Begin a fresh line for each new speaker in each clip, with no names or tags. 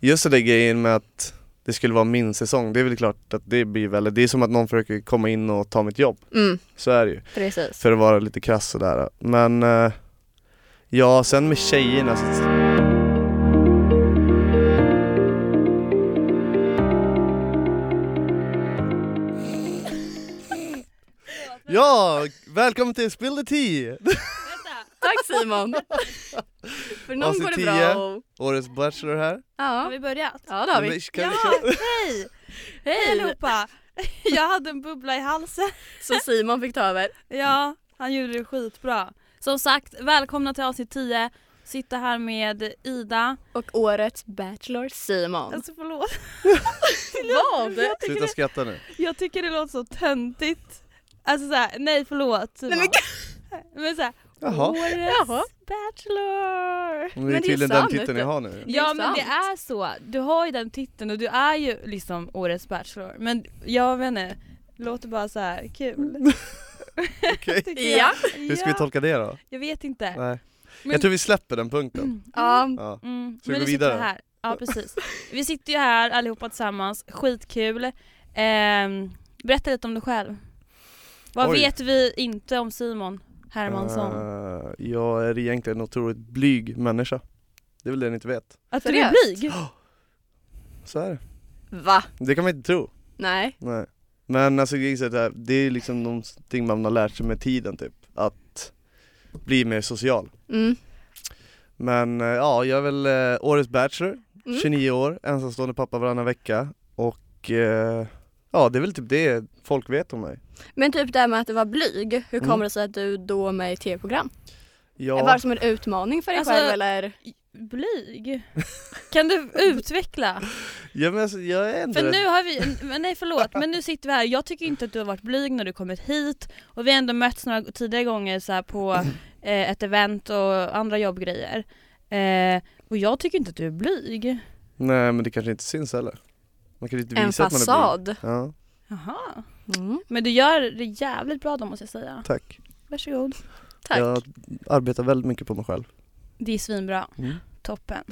Just den där grejen med att det skulle vara min säsong, det är väl klart att det blir väl, det är som att någon försöker komma in och ta mitt jobb.
Mm,
Så är det ju.
precis.
För att vara lite krass sådär. Men eh, ja, sen med tjejerna. Så, ja, välkommen till Spill the Tea!
Tack Simon! För någon
Avsnitt
går det
Alltså, tio.
bra och...
Årets Bachelor här.
Har
Ja,
vi börjat?
ja det har vi.
Kan vi
Ja,
köra?
hej! Hej
Hej!
allihopa! Jag hade en bubbla i halsen.
Så Simon fick ta över.
Ja, han gjorde det skitbra. Som sagt, välkomna till avsnitt 10. Sitter här med Ida.
Och årets Bachelor Simon.
Alltså förlåt.
Vad?
Jag tycker,
Sluta
det,
skratta nu.
jag tycker det låter så töntigt. Alltså såhär, nej förlåt Simon.
Nej,
men men såhär,
Jaha,
årets
Jaha.
bachelor.
det
det
är
är
tydligen den
sant.
titeln jag har nu.
är
Ja men
sant.
det är så. Du har ju den titeln och du är ju liksom årets bachelor. Men jag vet inte, låter bara så här kul.
Okej.
tycker jag.
Ja.
Hur ska vi tolka det då?
Jag vet inte.
Nej.
Men-
Jag tror vi släpper den punkten.
Ja,
Ja.
Mm.
Ska vi
men
gå
vi sitter
vidare?
Här. Ja precis. Vi sitter ju här allihopa tillsammans, skitkul. Ehm, berätta lite om dig själv. Vad
Oj.
vet vi inte om Simon Hermansson?
Eh, jag är egentligen en otroligt blyg människa. Det är väl det ni inte vet.
att du är
seriöst?
blyg?
Så är det.
va?
Det kan man inte tro.
Nej.
Nej. Men alltså det är så här, det är liksom någonting man har lärt sig med tiden typ. Att bli mer social.
Mm.
Men eh, ja, jag är väl eh, årets bachelor,
Mm.
29 år, ensamstående pappa varannan vecka och eh, ja det är väl typ det folk vet om mig.
Men typ det här med att du var blyg, hur
Mm.
kommer det sig att du då var med i tv-program?
Ja,
Var det som en utmaning för dig
Alltså-
själv eller?
Blyg? Kan du utveckla?
ja men alltså, jag är ändå
För
rätt-
nu har vi, men nej förlåt, men nu sitter vi här. Jag tycker inte att du har varit blyg när du kommit hit och vi har ändå mötts några tidigare gånger så här på eh, ett event och andra jobbgrejer. Eh, och jag tycker inte att du är blyg.
Nej men det kanske inte syns heller. Man kan inte
En
visa att man är blyg.
fasad.
Ja,
Jaha.
Mm.
Men du gör det jävligt bra då måste jag säga.
tack.
Varsågod.
Tack.
Jag arbetar väldigt mycket på mig själv.
Det är svinbra.
Mm.
Toppen.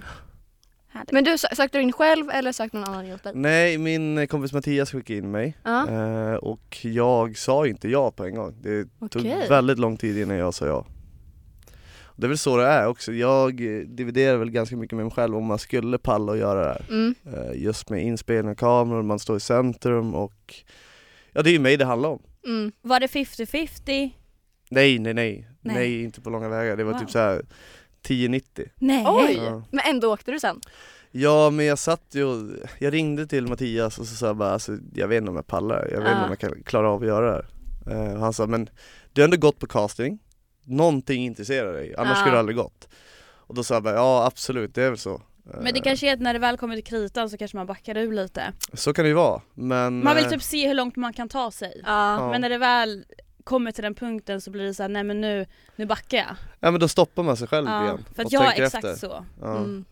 Härligt.
Men du, sö- sökte du in själv eller sökte någon annan hjälp? dig?
Nej, min eh, kompis Mattias skickade in mig
Ja.
eh, och jag sa inte ja på en gång. Det tog
Okej.
väldigt lång tid innan jag sa ja. Det är väl så det är också. Jag eh, dividerar väl ganska mycket med mig själv om man skulle palla och göra det här.
Mm.
Eh, just med inspelning av kameror, man står i centrum och ja, det är ju mig det handlar om.
Mm.
Var det 50-50?
Nej, nej, nej. Nej,
Nej.
inte på långa vägar. Det var
Wow.
typ så här 10-90.
Nej.
Oj!
Ja.
Men ändå åkte du sen?
Ja men jag satt ju och, jag ringde till Mattias och så sa jag bara alltså, jag vet inte om jag pallar, jag vet inte
Ja.
Ah.
om jag kan klara av att göra det här. Eh, och han sa men du har ändå gått på casting, någonting intresserar dig, annars
Ja.
Ah.
skulle du aldrig gått. Och då sa jag bara ja absolut det är väl så. Eh,
Men det kanske är att när det väl kommer till kritan så kanske man backar ur lite.
Så kan det ju vara men
Man vill
eh,
typ se hur långt man kan ta sig.
Ja.
ja.
Men när det väl kommer till den punkten så blir det så här, nej men nu, nu backar jag.
ja men då stoppar man sig själv
Ja,
igen
för att
och
jag är
tänker
exakt
efter.
så.
Ja.
Mm.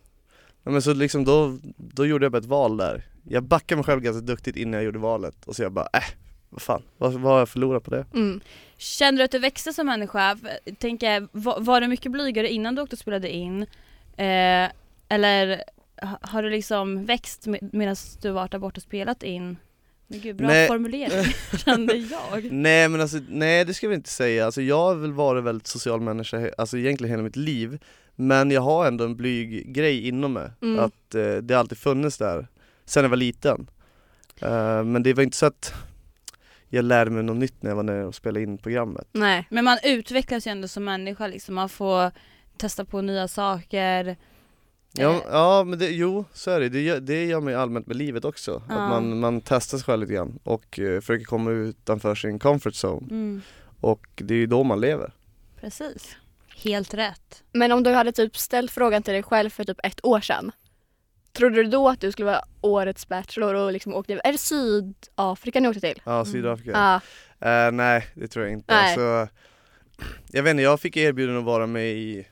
Ja, men så liksom då, då gjorde jag bara ett val där. Jag backade mig själv ganska duktigt innan jag gjorde valet och så jag bara äh, vad fan, vad, vad har jag förlorat på det?
Mm.
Känner du att du växte som människa? Tänker, var, var du mycket blygare innan du åkte och spelade in? Eh, eller ha- har du liksom växt med, medan du varit där borta och spelat in? Men gud, bra
Nej.
formulering kände jag.
Nej men alltså, nej det ska jag väl inte säga. Alltså jag har väl varit väldigt social människa, he- alltså egentligen hela mitt liv. Men jag har ändå en blyg grej inom mig,
Mm.
att eh, det har alltid funnits där, sen jag var liten. Eh, men det var inte så att jag lärde mig något nytt när jag var nere och spelade in programmet.
Nej.
Men man utvecklas ju ändå som människa liksom, man får testa på nya saker.
Ja,
Eh,
ja men det, jo så är det, det gör, det gör man ju allmänt med livet också. Att
Ja.
man, man testar sig själv lite grann och eh, försöker komma utanför sin comfort zone.
mm,
Och det är ju då man lever.
precis. Helt rätt.
Men om du hade typ ställt frågan till dig själv för typ ett år sedan. Trodde du då att du skulle vara årets bachelor och liksom åkte, är det Sydafrika ni åkte till? Ah.
Ja, Sydafrika.
Ja.
Eh, nej, det tror jag inte.
Nej.
Alltså, jag vet inte, jag fick erbjuden att vara med i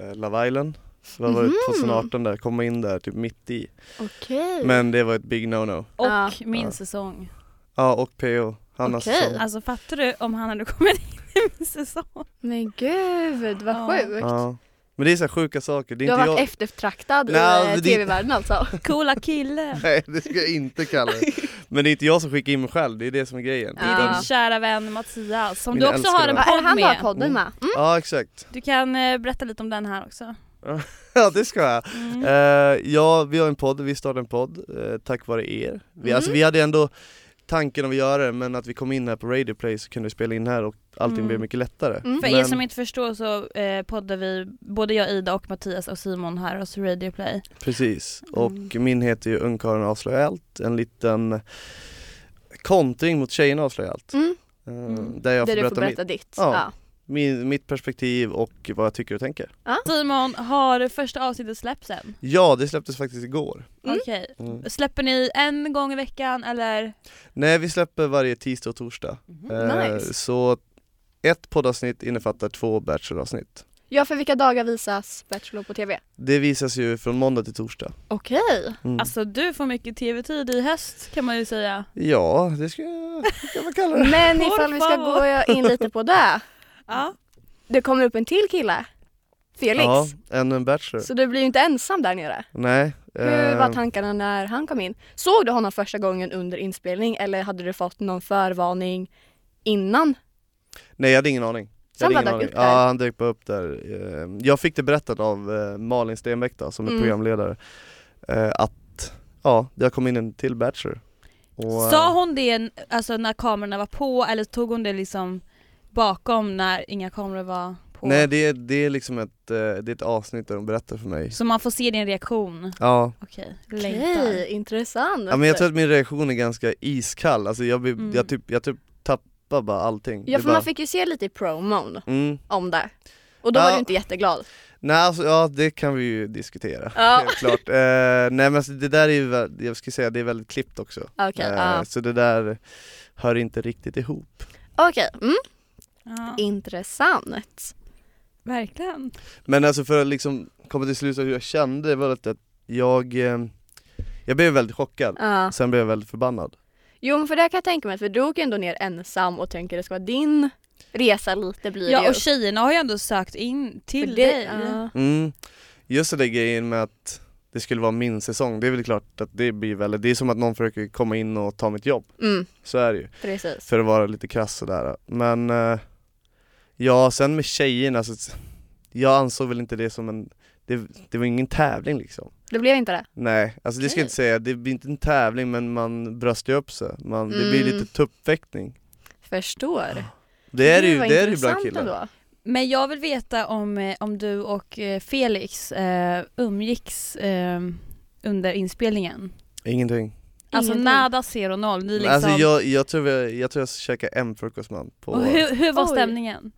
eh, Love Island. Så vad var det
Mhm.
2018 där, komma in där typ mitt i.
Okej.
Men det var ett big no-no.
Och
Ja.
min
Ja.
säsong.
Ja, och PO, Hannas
Okej.
säsong.
Alltså fattar du om han hade kommit in i min säsong?
Men gud vad
Ja.
sjukt.
Ja. Men det är så här sjuka saker, det är
Du har
inte
varit
jag...
eftertraktad
Nej,
i eh,
det-
tv-världen alltså.
Coola kille.
Nej det ska jag inte kalla det. Men det är inte jag som skickar in mig själv, det är det som är grejen.
Det är
Ja. Mm.
din kära vän Mattias som
Min
du också
älskade
har en
vän.
Är det
podd
han du har
med.
podden med? Mm.
Ja exakt,
Du kan eh, berätta lite om den här också.
ja det ska jag.
Mm.
Eh, ja, vi har en podd, vi startade en podd eh, tack vare er. Vi, alltså,
Mm.
vi hade ändå tanken om att göra det, men att vi kom in här på Radio Play så kunde vi spela in här och allting
Mm.
blev mycket lättare.
Mm.
För er
Men-
som inte förstår så eh, poddar vi, både jag, Ida och Mattias och Simon här hos Radio Play.
Precis,
Mm.
och min heter ju Ungkarlen avslöjar allt, en liten kontring mot Tjejerna avslöjar allt.
Mm.
Eh,
Mm.
Där jag
Där
får
du får
berätta,
berätta ditt.
Ja.
Ja.
Mitt, min, mitt perspektiv och vad jag tycker och tänker.
Simon, har första avsnittet släppts än?
Ja, det släpptes faktiskt igår.
Mm.
Okej.
Mm.
Släpper ni en gång i veckan eller?
Nej, vi släpper varje tisdag och torsdag. Eh,
nice.
Så ett poddavsnitt innefattar två Bachelor-avsnitt.
ja, för vilka dagar visas Bachelor på tv?
Det visas ju från måndag till torsdag.
Okej.
Mm.
Alltså du får mycket tv-tid i höst kan man ju säga.
Ja, det ska kan man kalla det.
Men
Por
ifall vi ska
favor.
gå in lite på det.
Ja.
Det kommer upp en till kille. Felix.
Ja, ännu en Bachelor.
Så du blir ju inte ensam där nere.
Nej.
Hur
eh,
var tankarna när han kom in? Såg du honom första gången under inspelning eller hade du fått någon förvarning innan?
Nej jag hade ingen aning. Jag
Sen
hade ingen
bara
aning.
dök upp där.
Ja han dök bara upp där. Eh, Jag fick det berättat av eh, Malin Stenbeck då, som är
Mm.
programledare, eh, att ja, det har kommit in en till Bachelor. Och, eh,
Sa hon det alltså, när kamerorna var på eller tog hon det liksom bakom när inga kameror var på?
Nej det, är- det är liksom ett, eh, det är ett avsnitt där hon berättar för mig.
Så man får se din reaktion?
Ja.
Okej, längtar.
Okej, intressant.
ja men jag tror att min reaktion är ganska iskall, alltså jag, blir,
Mm.
jag, typ, jag typ tappar bara allting.
ja
Det
för
bara,
man fick ju se lite i promon
mm.
om det. Och då var
Ja.
du inte jätteglad.
Nej alltså ja det kan vi ju diskutera.
Ja.
Helt klart. Eh, nej men alltså, det där är ju, vä- jag ska säga det är väldigt klippt också.
Okej,
Eh,
ja.
Så det där hör inte riktigt ihop.
Okej, mm,
Ja,
intressant.
verkligen.
Men alltså för att liksom komma till slutet av hur jag kände, det var lite att jag, eh, jag blev väldigt chockad.
Ja.
Sen blev jag väldigt förbannad.
Jo men för det kan jag tänka mig, för du åker ändå ner ensam och tänker det ska vara din resa lite blir det
Ja
ju.
och tjejerna har ju ändå sökt in till
För
dig.
ja.
Mm. Just den där grejen med att det skulle vara min säsong, det är väl klart att det blir väl, det är som att någon försöker komma in och ta mitt jobb.
Mm,
Så är det ju.
precis.
För att vara lite krass sådär. Men eh, ja, sen med tjejerna, så, jag ansåg väl inte det som en, det, det var ingen tävling liksom.
Det blev inte det.
Nej, alltså det ska
Okej.
jag inte säga. Det blir inte en tävling men man bröstar ju upp sig. Man, Det blir
Mm.
lite tuppfäktning.
Förstår.
Det är det ju,
var
det är det ju
intressant
bland killar.
ändå.
Men jag vill veta om, eh, om du och eh, Felix eh, umgicks eh, under inspelningen.
Ingenting.
Alltså
Ingenting.
nada, zero, noll. Ni
Men
liksom...
Alltså jag, jag, tror jag, jag tror jag käkar en frukost man på...
Och hur, hur var
Oj.
stämningen?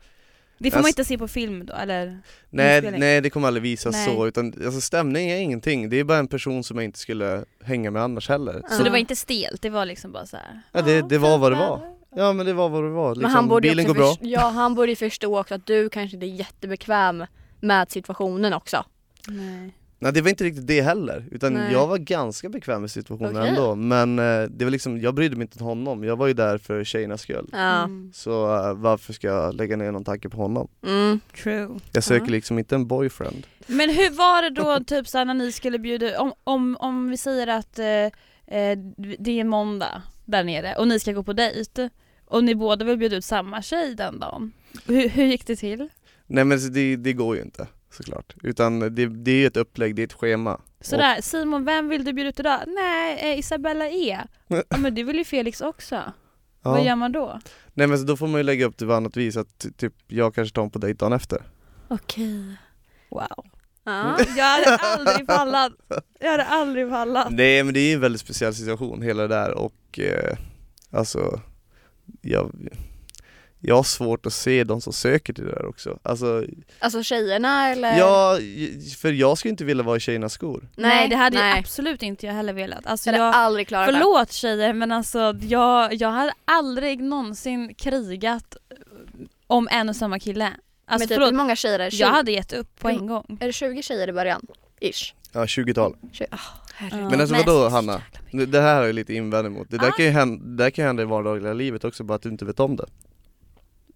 Det får man
Alltså-
inte se på film då eller?
nej,
inspelning?
nej det kommer aldrig visas
Nej.
så utan alltså, stämning är ingenting. Det är bara en person som jag inte skulle hänga med annars heller.
Ja.
Så det var inte stelt, det var liksom bara så här.
Ja, det- det var vad det
fint
var.
väder.
Ja men det var vad det var. Liksom,
Men han borde ju
bilen går
också
bra.
förs- Ja, han borde ju förstå också att du kanske inte är jättebekväm med situationen också.
Nej.
Nej det var inte riktigt det heller, utan
Nej.
jag var ganska bekväm med situationen
Okej.
ändå. Men eh, det var liksom, jag brydde mig inte om honom. Jag var ju där för tjejernas skull.
Ja. Mm.
Mm.
Så eh, varför ska jag lägga ner någon tanke på honom?
Mm.
True.
Jag söker
Ja.
liksom inte en boyfriend.
Men hur var det då typ så här, när ni skulle bjuda, om, om, om vi säger att eh, eh, det är måndag där nere och ni ska gå på dejt och ni båda vill bjuda ut samma tjej den dagen. Hur, hur gick det till?
Nej men så det, det går ju inte såklart. Utan det, det är ju ett upplägg, det är ett schema.
Sådär, Simon vem vill du bjuda ut idag? Nej, eh, Isabella E. Ja men det vill ju Felix också. Vad
Ja.
gör man då?
Nej men så då får man ju lägga upp det på annat vis, att ty- typ jag kanske tar honom på dejt dagen efter.
Okej.
Wow.
Ja.
Jag hade aldrig pallat. Jag hade aldrig pallat.
Nej men det är ju en väldigt speciell situation hela det där och eh, alltså jag, jag har svårt att se de som söker till det där också. Alltså,
Alltså tjejerna
Eh.
eller?
ja, j- för jag skulle inte vilja vara i tjejernas skor.
Nej, det hade
nej.
ju absolut inte jag heller velat. Alltså,
Jag hade
jag,
aldrig klarat det.
förlåt tjejer men alltså jag, jag hade aldrig någonsin krigat eh, om en och samma kille. Alltså
Men typ, hur
förlåt,
många tjejer är det? 20,
jag hade gett upp på en gång.
Är det 20 tjejer i början? Ish.
Ja, 20-tal.
Tjue- ah, herregud.
Ja.
Men alltså
Men-
vadå Hanna?
Jävla mycket.
Det det här har jag lite invändning mot. Det där,
Ah.
kan ju hända, det där kan ju hända i vardagliga livet också, bara att du inte vet om det.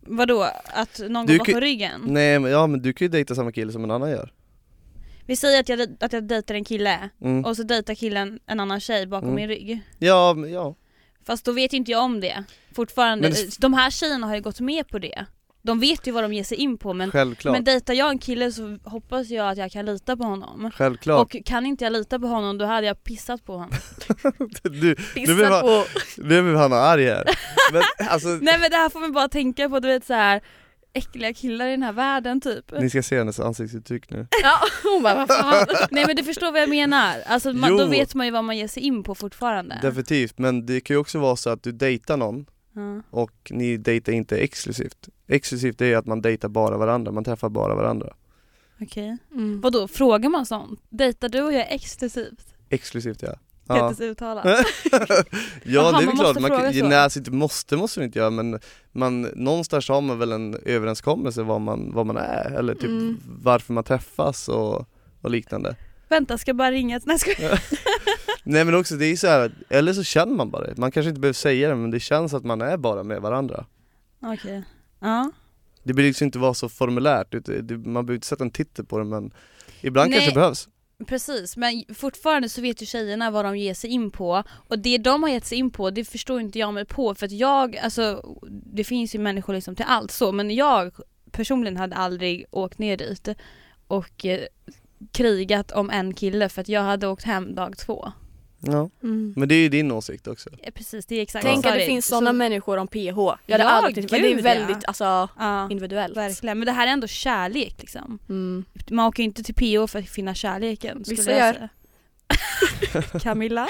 Vadå? Att någon
Du
går
kan- Mm.
bakom ryggen?
Nej men ja men du kan ju dejta samma kille som en annan gör.
Vi säger att jag, att jag dejtar en kille
Mm.
och så dejtar killen en annan tjej bakom
Mm.
min rygg.
Ja, men ja.
Fast då vet ju inte jag om det fortfarande.
Men det-
De här tjejerna har ju gått med på det. De vet ju vad de ger sig in på men,
Självklart.
men dejtar jag en kille så hoppas jag att jag kan lita på honom.
Självklart.
Och kan inte jag lita på honom då hade jag pissat på honom.
Du, Nu blir
Pissa
man-
på
nu blir han arg här. Men alltså,
Nej men det här får man bara tänka på, du vet så här äckliga killar i den här världen typ.
ni ska se hennes ansiktsuttryck nu.
Ja, hon bara vad fan.
Nej men du förstår vad jag menar. Alltså man,
Jo.
då vet man ju vad man ger sig in på fortfarande.
Definitivt, men det kan ju också vara så att du dejtar någon
Ja.
och ni dejtar inte exklusivt. Exklusivt är att man dejtar bara varandra, man träffar bara varandra.
Okej.
Mm.
Vadå, frågar man sånt? Dejtar du och jag exklusivt?
Exklusivt ja.
Kan
Ja,
inte ens uttala.
ja
Jaha,
det är
man
väl klart,
måste
man kan,
fråga så.
nej, alltså, inte måste måste man inte göra men man, någonstans har man väl en överenskommelse vad man, vad man är eller typ
Mm.
varför man träffas och, och liknande.
Vänta, ska jag bara ringa? Nej, ska...
Nej men också det är så här, att- eller så känner man bara det. Man kanske inte behöver säga det men det känns att man är bara med varandra.
Okej. Ja.
Det behöver liksom inte vara så formulärt, ut- det- man behöver inte sätta en titel på det men ibland
Nej.
kanske det behövs.
Precis, men fortfarande så vet ju tjejerna vad de ger sig in på och det de har gett sig in på det förstår inte jag mig på för att jag, alltså det finns ju människor liksom till allt så men jag personligen hade aldrig åkt ner dit och eh, krigat om en kille för att jag hade åkt hem dag två.
Ja.
Mm.
Men det är ju din åsikt också.
Eh, Precis, det är exakt
Tänk att
vad jag
det
sa,
finns
Så-
sådana människor om PH. Jag hade
Ja,
aldrig men det är
gud,
väldigt
ja.
alltså,
Ja,
individuellt.
verkligen. Men det här är ändå kärlek liksom.
Mm.
Man åker ju inte till PO för att finna kärleken skulle
Vissa
jag
gör.
säga. Camilla?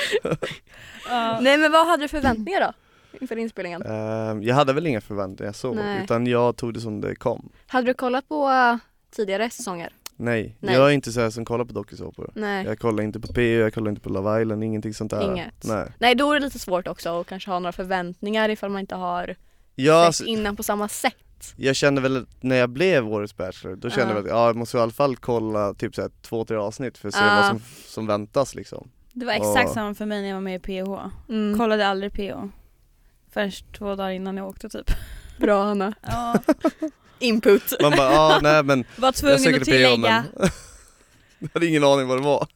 Ja.
Nej men vad hade du för förväntningar då? Inför inspelningen?
Ehm, jag hade väl inga förväntningar så,
Nej.
utan jag tog det som det kom.
Hade du kollat på eh, tidigare säsonger?
Nej,
Nej.
jag är inte så här som kollar på dokusåpor.
Nej.
Jag kollar inte på PO, jag kollar inte på Love Island, ingenting sånt där.
Inget.
Nej.
Nej då är det lite svårt också att kanske ha några förväntningar ifall man inte har
Jag,
alltså-
sett innan på samma sätt.
jag kände väl att när jag blev årets Bachelor, då kände
Ja.
jag väl att ja, jag måste i alla fall kolla typ så här, två, tre avsnitt för att se
Ja.
vad som, som väntas liksom.
Det var exakt
Ja.
samma för mig när jag var med i PH.
Mm.
Kollade aldrig PH. Förrän två dagar innan jag åkte typ.
Bra Hanna.
Ja.
Input.
Man bara, ja nej men
Var
jag
tvungen
söker
att
till PO
tillägga.
men jag hade ingen aning vad det var.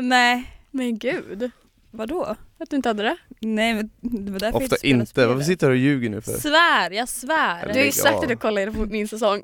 Nej.
Men gud.
Vadå?
Att du inte hade det?
Nej men det var därför jag
Ofta
spelade
inte,
spelet.
varför sitter du och ljuger nu för?
Svär, jag svär.
Du
Lägg
har ju sagt
av.
att du kollade på min säsong.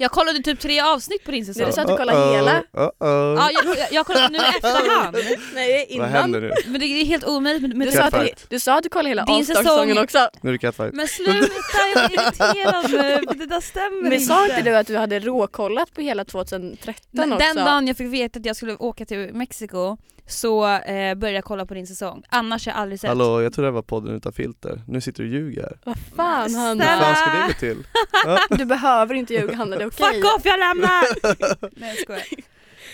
Jag kollade typ tre avsnitt på din
Nej,
säsong.
du sa
ah,
att du kollade hela.
Uh-oh.
Ja, jag, jag, jag kollade nu i efterhand.
Nej
Vad händer nu?
Men det är helt omöjligt med, med
Du sa, att du,
Catfight.
du sa att du kollade hela
Din
Allstar-säsongen
säsong-
också.
Nu är det catfight.
Men sluta, jag blir irriterad nu. för Det där stämmer
Men
inte.
sa inte du att du hade råkollat på hela 2013
Men
också?
den dagen jag fick veta att jag skulle åka till Mexiko så eh, började jag kolla på din säsong. Annars har jag aldrig sett.
Hallå, jag tror det här var podden utan filter. Nu sitter du och ljuger här.
Vad fan
Hur
Snälla.
Hanna?
fan ska det gå till?
Du behöver inte ljuga Hanna, det är okej.
Fuck off, jag lämnar! nej jag skojar.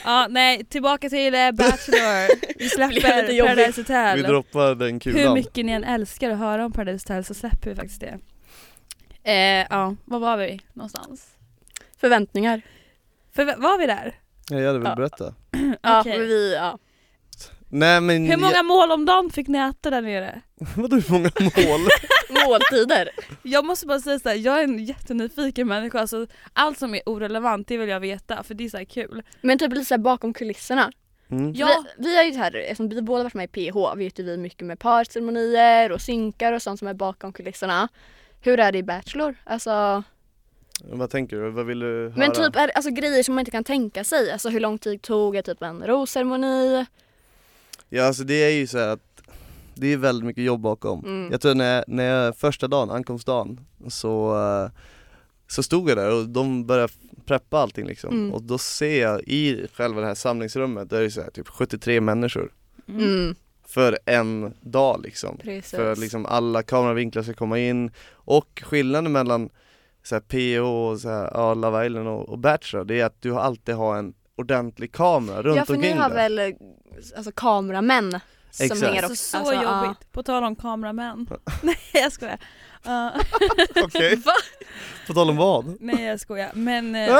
Ja, nej, tillbaka till eh, Bachelor. Vi
Blev lite
släpper
jobbigt.
Paradise
Vi
Hotel.
droppar den
Hur
kulan.
mycket ni än älskar att höra om Paradise Hotel så släpper vi faktiskt det. Eh, ja, var var vi någonstans?
Förväntningar.
För var vi där?
Ja, jag hade
Ja.
väl berättat.
Ja,
Okej.
men vi, ja.
Nej men,
Hur många mål om dagen fick ni äta där nere?
jag, vadå hur många mål?
Måltider.
Jag måste bara säga såhär, jag är en jättenyfiken människa, alltså, allt som är orelevant det vill jag veta för det är såhär kul.
Men typ lite så här bakom kulisserna.
Mm.
Ja.
Vi, vi har ju det här, eftersom vi båda varit med i PH vet ju vi mycket med parceremonier och synkar och sånt som är bakom kulisserna. Hur är det i Bachelor? Alltså,
Vad tänker du? Vad vill du höra?
men typ är, alltså, grejer som man inte kan tänka sig. Alltså hur lång tid tog det, typ en rosceremoni?
Ja alltså det är ju så här att det är väldigt mycket jobb bakom.
Mm.
Jag tror när, när jag, första dagen, ankomstdagen, så, eh, så stod jag där och de började preppa allting liksom.
Mm.
Och då ser jag i själva det här samlingsrummet, där är det så här, typ 73 människor
Mm,
för en dag liksom.
precis.
För att liksom alla kameravinklar ska komma in och skillnaden mellan så här, PO och så här, ja, Love Island och, och Bachelor det är att du alltid har en ordentlig kamera runt
ja för ni
omkring
har
dig.
väl eh, alltså, kameramän som
Exakt.
hänger
Alltså,
också.
så
Alltså, ja.
jobbigt, på tal om kameramän. nej jag skojar. Uh,
Okej,
Va?
på tal om vad?
nej jag skojar, men eh,
Äh!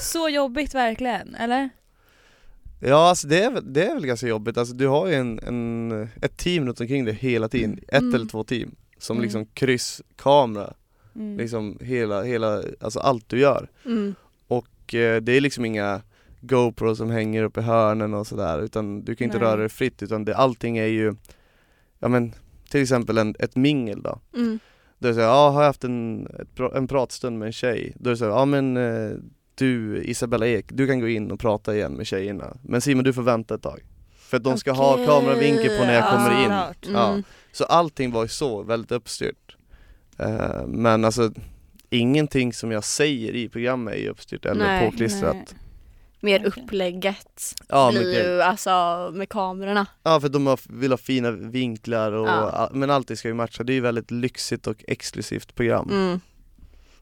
så jobbigt verkligen, eller?
Ja alltså det är, väl- det är väl ganska jobbigt, alltså, du har ju en, en, ett team runt omkring dig hela tiden, ett
Mm.
eller två team som
Mm.
liksom krysskamera
Mm.
Liksom hela, hela, alltså allt du gör.
Mm.
Och eh, det är liksom inga GoPro som hänger uppe i hörnen och sådär utan du kan inte
Nej.
röra dig fritt utan det, allting är ju, ja men till exempel en, ett mingel då.
Mm.
Då är det såhär, ja har jag haft en, ett, pra- en pratstund med en tjej? Då är det såhär, ja men eh, du Isabella Ek, du kan gå in och prata igen med tjejerna. Men Simon du får vänta ett tag. För att de ska ha
Okej,
kameravinkel på när jag
ja,
kommer in. Mm.
såklart.
Mm.
Ja. Så allting var ju så, väldigt uppstyrt. Eh, men alltså ingenting som jag säger i programmet är ju uppstyrt eller
Nej,
påklistrat.
Nej.
Mer
Verkligen.
upplägget
Ja,
blir
mycket.
ju alltså med kamerorna.
ja för de har, vill ha fina vinklar och
Ja.
all- men allting ska ju matcha. Det är ju väldigt lyxigt och exklusivt program.
Mm.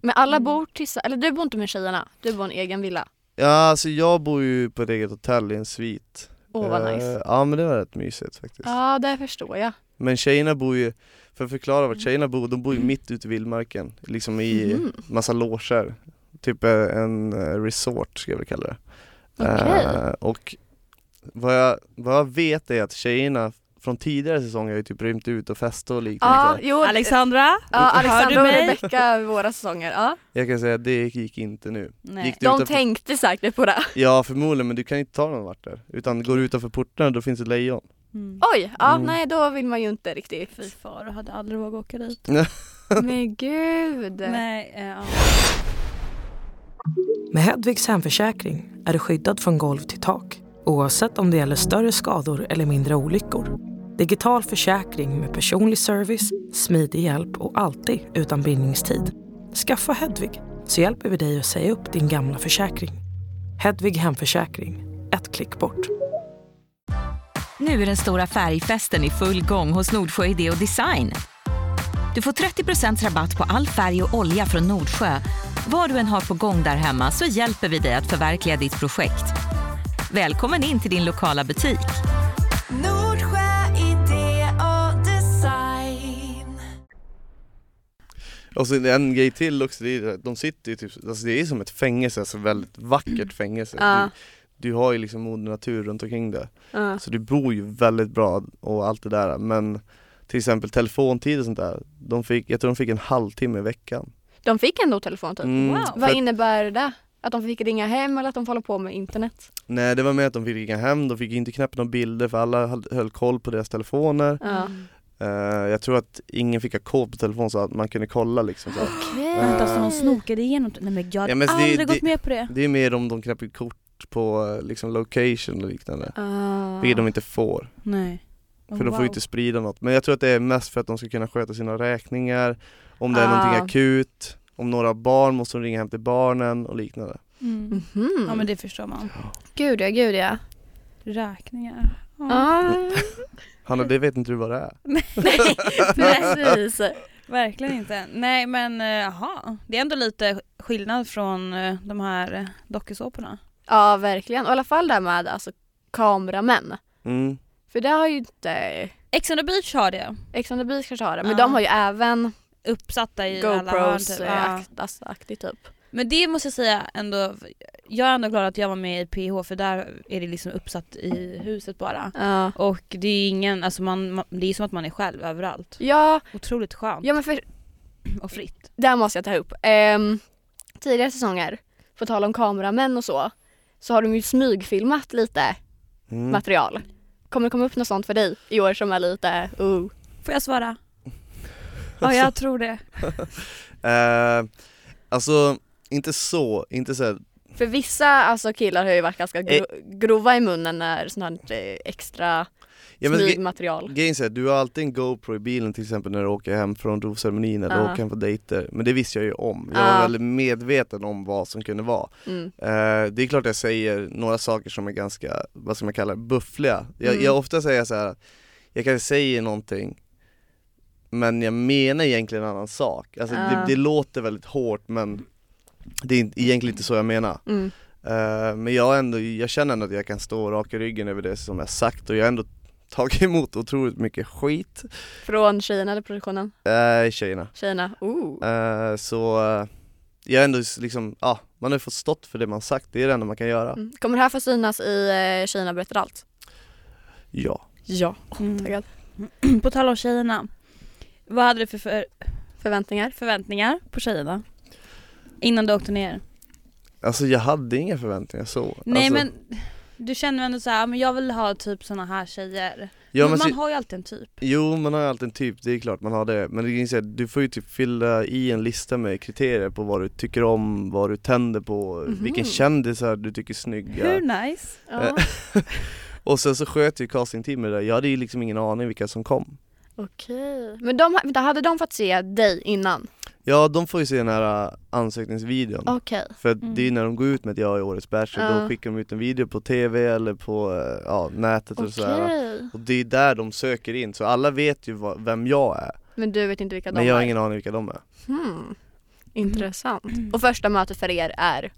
Men alla
Mm.
bor tillsammans, eller du bor inte med tjejerna, du bor i en egen villa.
Ja alltså jag bor ju på ett eget hotell i en svit.
Åh vad
Eh,
nice.
Ja men det var rätt mysigt faktiskt.
Ja det förstår jag.
Men tjejerna bor ju, för att förklara
Mm.
vart tjejerna bor, de bor ju mitt ute i vildmarken. Liksom i
Mhm.
massa loger. Typ eh, en eh, resort ska jag väl kalla det.
Okej.
Eh, och vad jag, vad jag vet är att tjejerna från tidigare säsonger har ju typ rymt ut och festat och liknande.
Ja, jo, eh,
Alexandra?
ja,
Hör
Alexandra
du
och
mig?
Rebecca våra säsonger. Ja.
Jag kan säga att det gick inte nu.
Nej.
Gick du
De
utanför- Mm.
tänkte säkert på det.
Ja förmodligen men du kan inte ta någon vart där. Utan går du utanför portarna då finns det lejon.
Mm.
Oj, ja
Mm.
nej då vill man ju inte
Fy
riktigt.
far, jag hade aldrig vågat åka dit.
Men gud.
Nej, eh, ja.
Med Hedvigs hemförsäkring är du skyddad från golv till tak oavsett om det gäller större skador eller mindre olyckor. Digital försäkring med personlig service, smidig hjälp och alltid utan bindningstid. Skaffa Hedvig så hjälper vi dig att säga upp din gamla försäkring. Hedvig hemförsäkring, ett klick bort.
Nu är den stora färgfesten i full gång hos Nordsjö Idé och Design. Du får 30 rabatt på all färg och olja från Nordsjö. Vad du än har på gång där hemma så hjälper vi dig att förverkliga ditt projekt. Välkommen in till din lokala butik.
Nordsjö idé och design.
Och så är det en grej till också, det är, att de sitter ju typ, alltså det är som ett fängelse, alltså väldigt vackert fängelse.
Ja.
Du, du har ju liksom moder natur runt omkring dig.
Ja.
Så du bor ju väldigt bra och allt det där men till exempel telefontid och sånt där, de fick, jag tror de fick en halvtimme i veckan.
De fick ändå telefon typ.
Mm,
Wow.
för
Vad
att-
innebär det? Att de fick ringa hem eller att de får hålla på med internet?
Nej det var med att de fick ringa hem, de fick inte knäppa några bilder för alla höll- höll koll på deras telefoner.
Ja.
Mm.
Eh, jag tror att ingen fick ha kod på telefon så att man kunde kolla liksom så. här.
Vänta, så de snokade igenom? Nej men jag
Ah.
hade
Ja, men så det-
aldrig
det-
gått med på det.
Det är mer om de knäpper kort på eh, liksom location och liknande.
Ah.
Vilket de inte får,
Nej.
för
Oh,
de får ju
wow.
inte sprida något. Men jag tror att det är mest för att de ska kunna sköta sina räkningar, om det är någonting
Ah.
akut, om några har barn måste de ringa hem till barnen och liknande.
Mm.
Mhm.
Ja men det förstår man.
Gud ja, gud ja.
Räkningar. Ja,
Ah.
Mm.
Mm.
Hanna det vet inte du vad det är?
Precis.
Verkligen inte. Nej men eh, jaha, det är ändå lite skillnad från eh, de här eh, dokusåporna.
Ja verkligen. Och i alla fall det här med alltså, kameramän.
Mm.
För det har ju inte
Ex on the beach har det.
Ex on the Beach kanske har det, men
Ja.
de har ju även
Uppsatta i alla hörn
GoPros
typ.
eh,
Ja.
akt- alltså, aktigt typ.
Men det måste jag säga ändå, jag är ändå glad att jag var med i PH för där är det liksom uppsatt i huset bara.
Ja.
Och det är ingen, alltså man, man, det är som att man är själv överallt.
Ja,
Otroligt skönt
ja men för
och fritt.
där måste jag ta upp. Ehm, tidigare säsonger, på tal om kameramän och så, så har de ju smygfilmat lite
Mm.
material. Kommer det komma upp något sånt för dig i år som är lite oh.
Får jag svara? Ja jag tror det.
Eh, alltså inte så, inte så här,
För vissa alltså, killar har ju varit
Eh.
ganska gro- grova i munnen när sånt här eh, extra
ja, men, ge-
smygmaterial.
grejen är så här, du har alltid en GoPro i bilen till exempel när du åker hem från dovceremonin eller
Ja.
åker hem på dejter, men det visste jag ju om. Jag var
Ja.
väldigt medveten om vad som kunde vara.
Mm.
Eh, det är klart jag säger några saker som är ganska, vad ska man kalla det, buffliga. Jag,
Mm.
jag ofta säger så här, jag kanske säger någonting men jag menar egentligen en annan sak. Alltså det,
Ah.
det låter väldigt hårt men det är inte- egentligen inte så jag menar.
Mm.
Eh, men jag, har ändå, jag känner ändå att jag kan stå rak i ryggen över det som jag sagt och jag har ändå tagit emot otroligt mycket skit,
Från tjejerna eller produktionen?
uh, tjejerna.
Tjejerna, oh.
Eh, så eh, jag har ändå s- liksom, ja, man har ju fått stått för det man sagt, det är det enda man kan göra.
Mm. Kommer det här få synas i eh, Tjejerna berättar allt?
Ja.
Ja,
Mm.
taggad.
På tal om tjejerna. Vad hade du för, för
Förväntningar?
Förväntningar på tjejerna? Innan du åkte ner?
Alltså jag hade inga förväntningar så.
Nej
alltså,
men du känner ändå såhär, men jag vill ha typ såna här tjejer.
ja,
men
men
man
så-
har ju alltid en typ.
Jo man har ju alltid en typ, det är klart man har det. Men det är så här, du får ju typ fylla i en lista med kriterier på vad du tycker om, vad du tänder på,
Mhm.
vilken kändisar du tycker är snygga.
nice?
Eh.
Ja.
Och sen så sköt ju castingteamet det där, jag hade ju liksom ingen aning vilka som kom.
Okej. Men de, vänta, hade de fått se dig innan?
Ja de får ju se den här äh, ansökningsvideon.
Okej.
För att
Mm.
det är ju när de går ut med att jag är årets bachelor,
Ja.
då skickar de ut en video på tv eller på äh, ja, nätet och sådär.
Okej.
Och det är där de söker in, så alla vet ju vad, vem jag är.
Men du vet inte vilka de
Men jag har
är?
ingen aning vilka de är.
Hmm. Intressant. Och första mötet för er är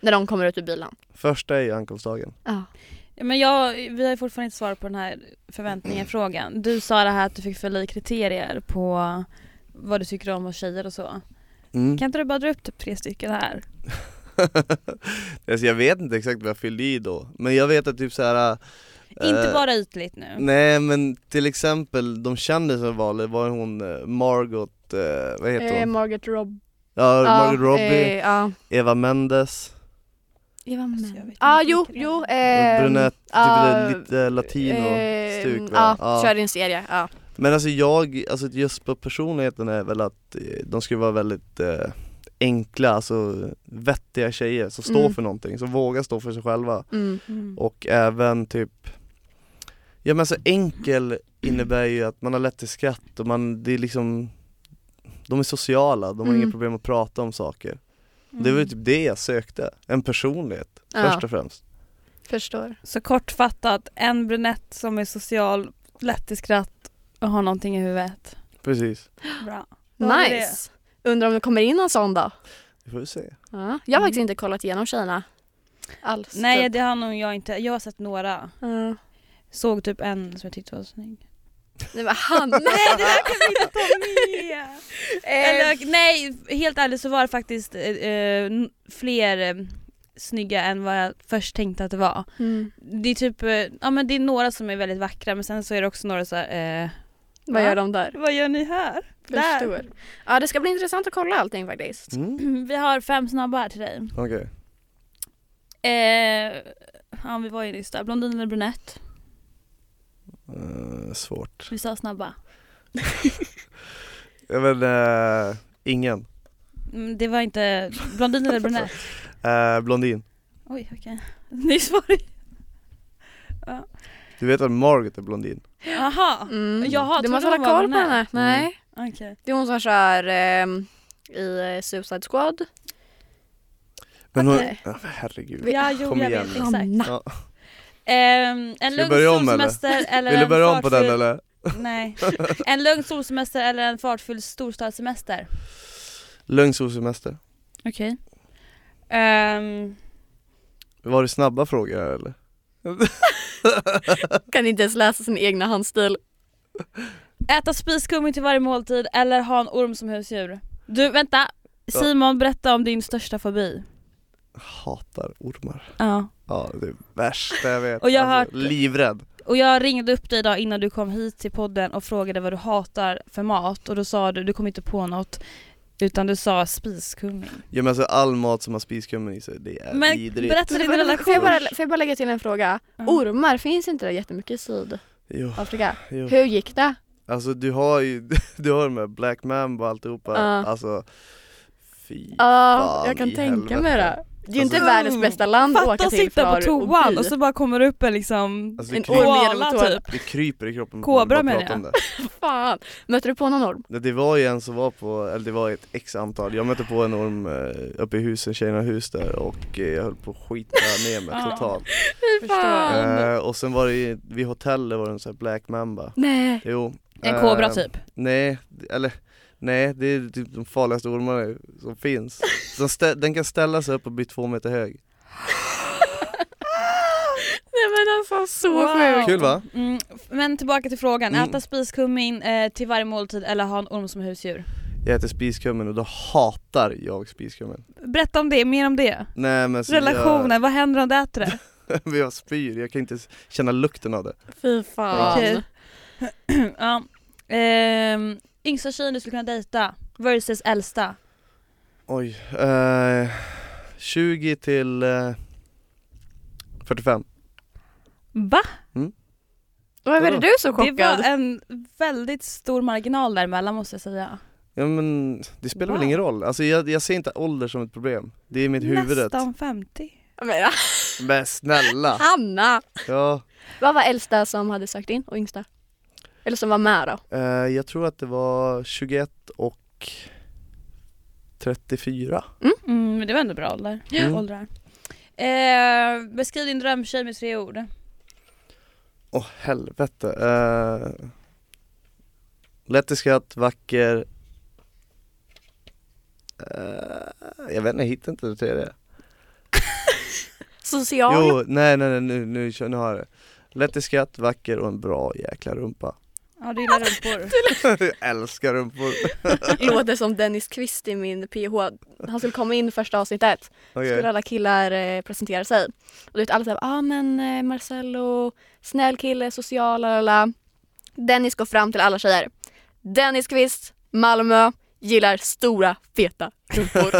när de kommer ut ur bilen?
Första är ju ankomstdagen.
Ja.
Men jag, vi har ju fortfarande inte svar på den här
Mm.
förväntningar-frågan. Du sa det här att du fick fylla i kriterier på vad du tycker om hos tjejer och så.
Mm.
Kan inte du bara dra upp typ tre stycken här?
alltså jag vet inte exakt vad jag fyllde i då, men jag vet att typ såhär
Inte bara ytligt nu.
Eh, Nej men till exempel de kändisar som valde var hon eh, Margot, eh, vad heter
Eh,
hon?
Margaret Rob...
Ja, Margot
Eh,
Robbie,
ja.
Eva Mendes,
Eva
Alltså, jag vet
Mendes.
inte
Ah, jo,
vilken
jo.
det
Eh,
brunett, typ
ah,
lite latino-stuk
eh,
va?
Ja,
Ja.
kör din serie. Ja.
Men alltså jag, alltså just på personligheten är väl att eh, de ska vara väldigt eh, enkla, alltså vettiga tjejer som står
Mm.
för någonting, som vågar stå för sig själva
Mm.
Mm.
och även typ Ja men så enkel innebär ju att man har lätt till skratt och man, det är liksom De är sociala, de har
Mm.
inga problem att prata om saker Det
Mm.
var ju typ det jag sökte, en personlighet
Ja.
först och främst
Förstår.
Så kortfattat, en brunett som är social, lätt i skratt och har någonting i huvudet.
Precis,
Bra. Då har vi det.
Nice. Undrar om det kommer in någon sån då?
det får vi se
Ja. Jag har faktiskt inte kollat igenom tjejerna. Alls.
Mm. Nej
typ.
det har nog jag inte, jag har sett några.
Ja.
Såg typ en som jag tyckte var snygg.
Nej men han, Eh, nej!
Nej det där kan vi inte ta med! Eller, nej helt ärligt så var det faktiskt eh, eh, n- fler eh, snygga än vad jag först tänkte att det var.
Mm.
Det är typ, eh, ja men det är några som är väldigt vackra men sen så är det också några så här, eh,
Vad gör
Ja.
de där?
vad gör ni här? Där.
Förstår. Ja det ska bli intressant att kolla allting faktiskt.
mm.
Vi har fem snabba här till dig.
Okej,
Eh, ja vi var ju nyss där, blondin eller brunett?
Eh, svårt
Vi sa snabba.
Jag vet eh, ingen
Mm, det var inte, blondin eller brunett?
eh, Blondin,
Oj okej, nyss var det
du vet att Margaret är blondin?
Jaha,
Mm.
Jaha,
du
trodde
måste
de
hålla
var
koll på
brunett.
henne. Nej.
okej.
Det är hon som kör ehm, i eh, Suicide Squad.
Men hon,
Okej.
Ja, herregud
Ja jo
Kom
jag
igen
vet,
nu.
exakt.
Ja.
Ehm, en
vi
lugn
börja om, eller?
solsemester eller
Vill du
en
börja om på den
fartfylld-
eller?
Nej. En lugn solsemester eller en fartfylld storstadssemester?
Lugn solsemester
Okej. Ehm,
Var det snabba frågor här, eller?
Kan inte ens läsa sin egna handstil.
äta spisgummi till varje måltid eller ha en orm som husdjur? Du vänta, Simon berätta om din största fobi.
Hatar ormar.
Ja.
Ja, det är värsta jag vet. Alltså,
Och jag har hört-
Livrädd.
Och jag ringde upp dig idag innan du kom hit till podden och frågade vad du hatar för mat och då sa du, du kom inte på något utan du sa spiskummin.
Ja, men alltså, all mat som har spiskummin i sig, det är
Men
vidrigt.
berätta din
Får jag,
relation.
bara, får jag bara lägga till en fråga?
Ja.
Ormar, finns inte det jättemycket i Sydafrika?
Jo, jo.
Hur gick det?
Alltså du har ju, du har de här Black Mamba och alltihopa.
Ja.
Alltså, fy
Ja,
fan
jag kan
i
tänka
helvete.
mig det. Det är ju inte
Alltså-
världens bästa land att
Fatta
åka
att
till
sitta
för
på toan alltså, och så bara kommer upp en liksom
Alltså, det,
En
kryper,
orm genom
koala typ.
tån.
det kryper i kroppen.
Kobra
bara
menar
prata om
Fan. Möter du på någon orm?
Det. det var ju en som var på, eller det var ett x antal. Jag mötte på en orm eh, uppe i husen, tjejerna hus där och eh, jag höll på att skita ner mig
Ja.
totalt.
Förstår.
Eh, och sen var det ju, vid hotellet var det en sån här Black Mamba.
Nej.
Jo.
En
eh,
kobra typ.
Nej, eller nej det är typ de farligaste ormarna som finns. Så stä- den kan ställa sig upp och bli två meter hög.
Nej men alltså så
Wow.
sjukt.
Kul va?
Mm, f- men tillbaka till frågan,
Mm.
äta spiskummin eh, till varje måltid eller ha en orm som husdjur?
Jag äter spiskummin och då hatar jag spiskummin.
Berätta om det, mer om det.
Nej men så
Relationen, vad händer om du äter det?
Jag, jag spyr, jag kan inte s- känna lukten av det.
Fy fan.
Okej. ja. Ehm, yngsta tjejen du skulle kunna dejta? Versus äldsta.
Oj, eh, 20 till eh, 45
Va?
Varför är
Vadå?
du så
Det var
chockad?
en väldigt stor marginal däremellan måste jag säga.
Ja men det spelar
Wow.
väl ingen roll, alltså jag, jag ser inte ålder som ett problem Det är i mitt huvud
Nästan 50.
Men,
Men snälla!
Hanna!
Ja,
Vad var äldsta som hade sökt in och yngsta? Eller som var med då?
eh, jag tror att det var 21 och 34
Mm, men det var ändå bra ålder.
Mm.
åldrar. Eh, beskriv din drömtjej med tre ord.
Åh helvete eh, Lätt i skratt, vacker eh, Jag vet inte, jag hittar inte det tredje
Social?
Jo, nej nej nej nu, nu, kör- nu har jag det Lätt i skratt, vacker och en bra jäkla rumpa
Ja du gillar rumpor.
Jag älskar rumpor!
Låter som Dennis Kvist i min PH. Han skulle komma in första avsnittet.
Okej.
skulle alla killar eh, presentera sig. Och du vet alla såhär, ah men eh, Marcello, snäll kille, social, la la la. Dennis går fram till alla tjejer. Dennis Kvist, Malmö, gillar stora feta rumpor.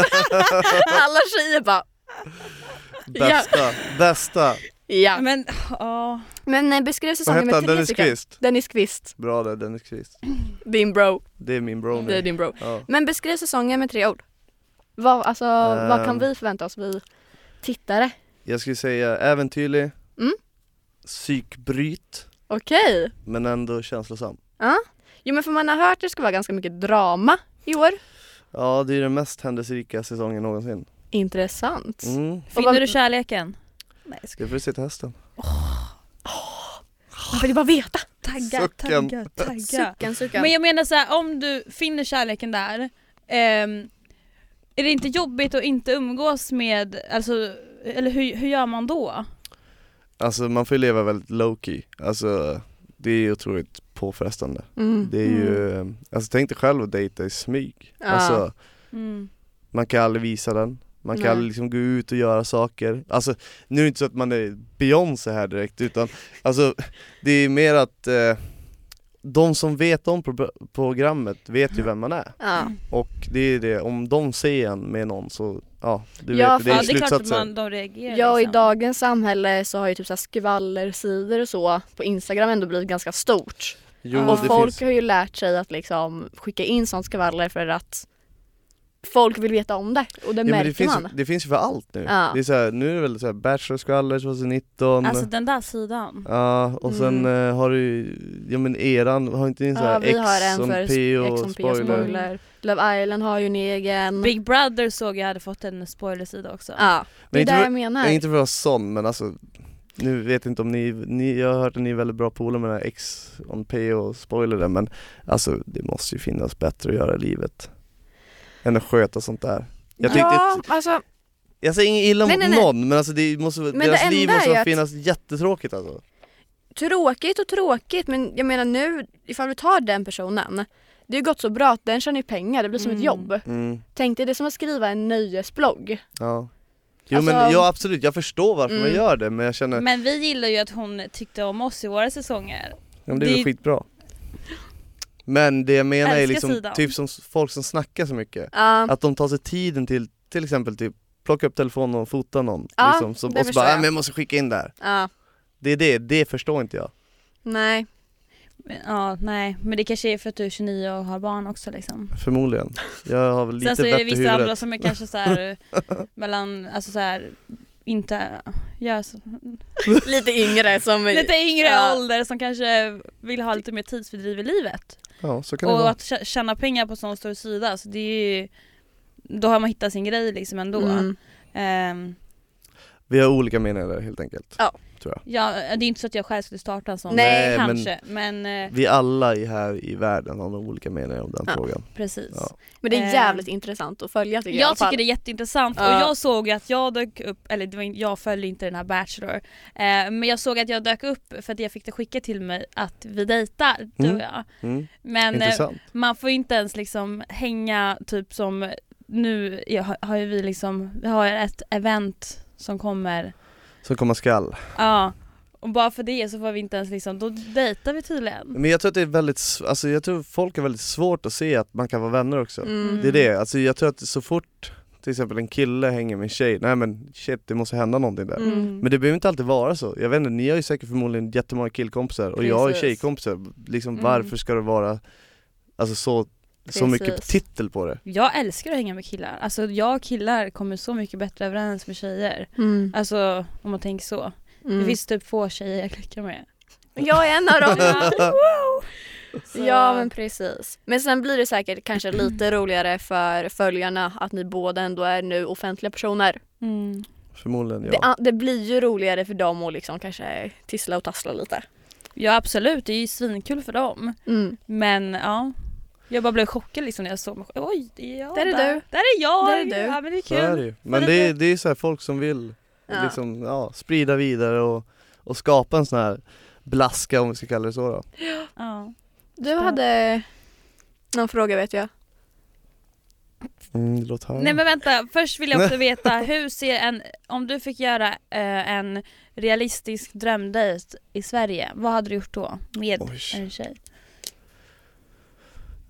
alla tjejer bara,
Bästa, bästa!
ja.
Men ja,
Men eh, beskriv
Vad
säsongen
hette
med
han?
tre
Dennis
stycken.
Kvist?
Dennis Kvist,
Bra där Dennis Kvist
din bro.
Det är min bro
Det är
nu
din bro.
ja.
Men beskriv säsongen med tre ord. Vad, alltså, vad kan
Ehm.
vi förvänta oss, vi tittare?
Jag skulle säga äventyrlig
Mm.
Psykbryt
Okej.
Men ändå känslosam
Jo men för man har hört att det ska vara ganska mycket drama i år.
Ja det är den mest händelserika säsongen någonsin
Intressant.
mm.
Och
finner
vad-
du kärleken? Nej jag
Det får du se till hösten
Jag vill bara veta.
Tagga,
Sucken.
tagga, tagga.
Suckan, suckan.
Men jag menar så här, om du finner kärleken där, ehm, är det inte jobbigt att inte umgås med, alltså, eller hur, hur gör man då?
Alltså man får ju leva väldigt low key Alltså det är ju otroligt påfrestande
mm.
Det är ju, alltså tänk dig själv att dejta i smyg
Ja.
Alltså
Mm.
man kan aldrig visa den man kan
Nej.
aldrig liksom gå ut och göra saker, alltså nu är det inte så att man är Beyoncé här direkt utan alltså det är mer att eh, de som vet om pro- programmet vet ju vem man är
Ja.
Mm.
och det är det, om de ser en med någon så, ja du
Ja,
vet,
för-
det
Ja
är
det
ja,
är klart att
slutsatser
man, de reagerar
ja och i
liksom.
dagens samhälle så har ju typ så här skvallersidor och så på Instagram ändå blivit ganska stort.
Jo,
och
det
folk
finns,
har ju lärt sig att liksom skicka in sånt skvaller för att folk vill veta om det och det
ja, men
märker
det, finns,
man.
det finns ju för allt nu,
Ja.
det är så här, nu är det väl så här Bachelor-skvaller 2019
Alltså den där sidan.
Ja och sen eh, har du ju, ja men eran, har inte ni en sån
Mm.
här
Ja, vi har
X
en
on
för
P
Ex
och
on P och
spoiler?
spoiler. Love Island har ju en egen.
Big Brother såg jag hade fått en spoilersida också.
Ja, det
Men
är
inte
det
för-
jag menar.
Nej. Inte för att vara sån men alltså nu vet jag inte om ni, ni, jag har hört att ni är väldigt bra polare med den här X on P och spoiler där men alltså det måste ju finnas bättre att göra i livet än att sköta sånt där. Jag, tyckte,
ja, alltså
jag säger inget illa
Nej,
mot
nej, nej.
någon men alltså det måste,
Men
deras
det
liv
enda är
måste
ju att-
finnas jättetråkigt alltså.
tråkigt och tråkigt men jag menar nu ifall vi tar den personen. Det har ju gått så bra att den tjänar ju pengar, det blir som
Mm.
ett jobb.
Mm,
Tänk dig det är som att skriva en nöjesblogg.
ja. Jo
Alltså-
men ja absolut, jag förstår varför man
Mm.
gör det men jag känner, ja,
Men vi gillar ju att hon tyckte om oss i våra säsonger.
men det är väl
det-
skitbra. Men det jag menar är
Älskar
liksom
sidan.
typ som s- folk som snackar så mycket.
Ja,
Att de tar sig tiden till till exempel typ plocka upp telefonen och fota någon
Ja,
liksom, som,
det
och så
förstår
bara
jag.
"Äh, men jag måste skicka in det här.
ja,
Det är det, det förstår inte jag.
nej.
Men, ja nej men det kanske är för att du är 29 och har barn också liksom.
Förmodligen. Jag har väl lite
Sen så är det
vett i
vissa andra
huvudet.
som är kanske så här mellan, alltså så här inte, gör så,
Lite yngre som
lite yngre
Ja.
ålder som kanske vill ha lite mer tidsfördriv i livet.
Ja, så kan det
Och
vara.
att tjä- tjäna pengar på en sån stor sida, så det är ju, då har man hittat sin grej liksom ändå.
Mm.
Ehm,
Vi har olika meningar där helt enkelt.
ja, det är inte så att jag själv skulle starta en sån
Nej, men-
kanske, men, eh,
Vi alla i- här i världen har nog olika meningar om den
Ja.
frågan.
precis.
Ja.
Men det
Eh,
är jävligt intressant att följa tycker jag. i alla
Jag
fall.
tycker det är jätteintressant och
Ja.
jag såg ju att jag dök upp, eller det var, in- jag följde inte den här Bachelor, eh, men jag såg att jag dök upp för att jag fick det skickat till mig att vi dejtar, du och
Mm.
jag.
Mm.
Men eh,
Intressant.
man får ju inte ens liksom hänga typ som nu är- har- har ju vi liksom, vi har ett event som kommer,
Så kommer skall.
ja. Och bara för det så får vi inte ens liksom, då dejtar vi tydligen.
Men jag tror att det är väldigt, s- alltså jag tror folk har väldigt svårt att se att man kan vara vänner också.
Mm.
Det är det, alltså jag tror att så fort till exempel en kille hänger med en tjej, nej men shit det måste hända någonting där.
Mm.
Men det behöver inte alltid vara så. Jag vet inte, ni har ju säkert förmodligen jättemånga killkompisar och jag har ju
Precis.
tjejkompisar. Liksom
Mm.
varför ska det vara alltså så, så mycket
Precis.
titel på det?
Jag älskar att hänga med killar. Alltså jag och killar kommer så mycket bättre överens med tjejer.
Mm.
Alltså om man tänker så.
Mm.
Det finns typ få tjejer jag klickar med.
Jag är en av dem.
Så-
ja men precis. Men sen blir det säkert kanske lite roligare för följarna att ni båda ändå är nu offentliga personer.
Mm.
Förmodligen
Det,
ja.
a- det blir ju roligare för dem att liksom kanske tissla och tassla lite.
Ja absolut, det är ju svinkul för dem.
Mm.
Men ja. Jag bara blev chockad liksom när jag såg mig själv. Oj, det är jag
Där är
där.
du.
Där är jag.
Där är du.
Ja men det är
Så är det
kul.
ju. Men det är, det är så här folk som vill
Ja.
liksom, ja, sprida vidare och, och skapa en sån här blaska om vi ska kalla det så då.
Ja.
Du hade någon fråga vet jag.
Mm, låt höra.
Nej men vänta, först vill jag också veta hur ser en, om du fick göra eh, en realistisk drömdejt i Sverige, vad hade du gjort då? Med
Oj.
en tjej?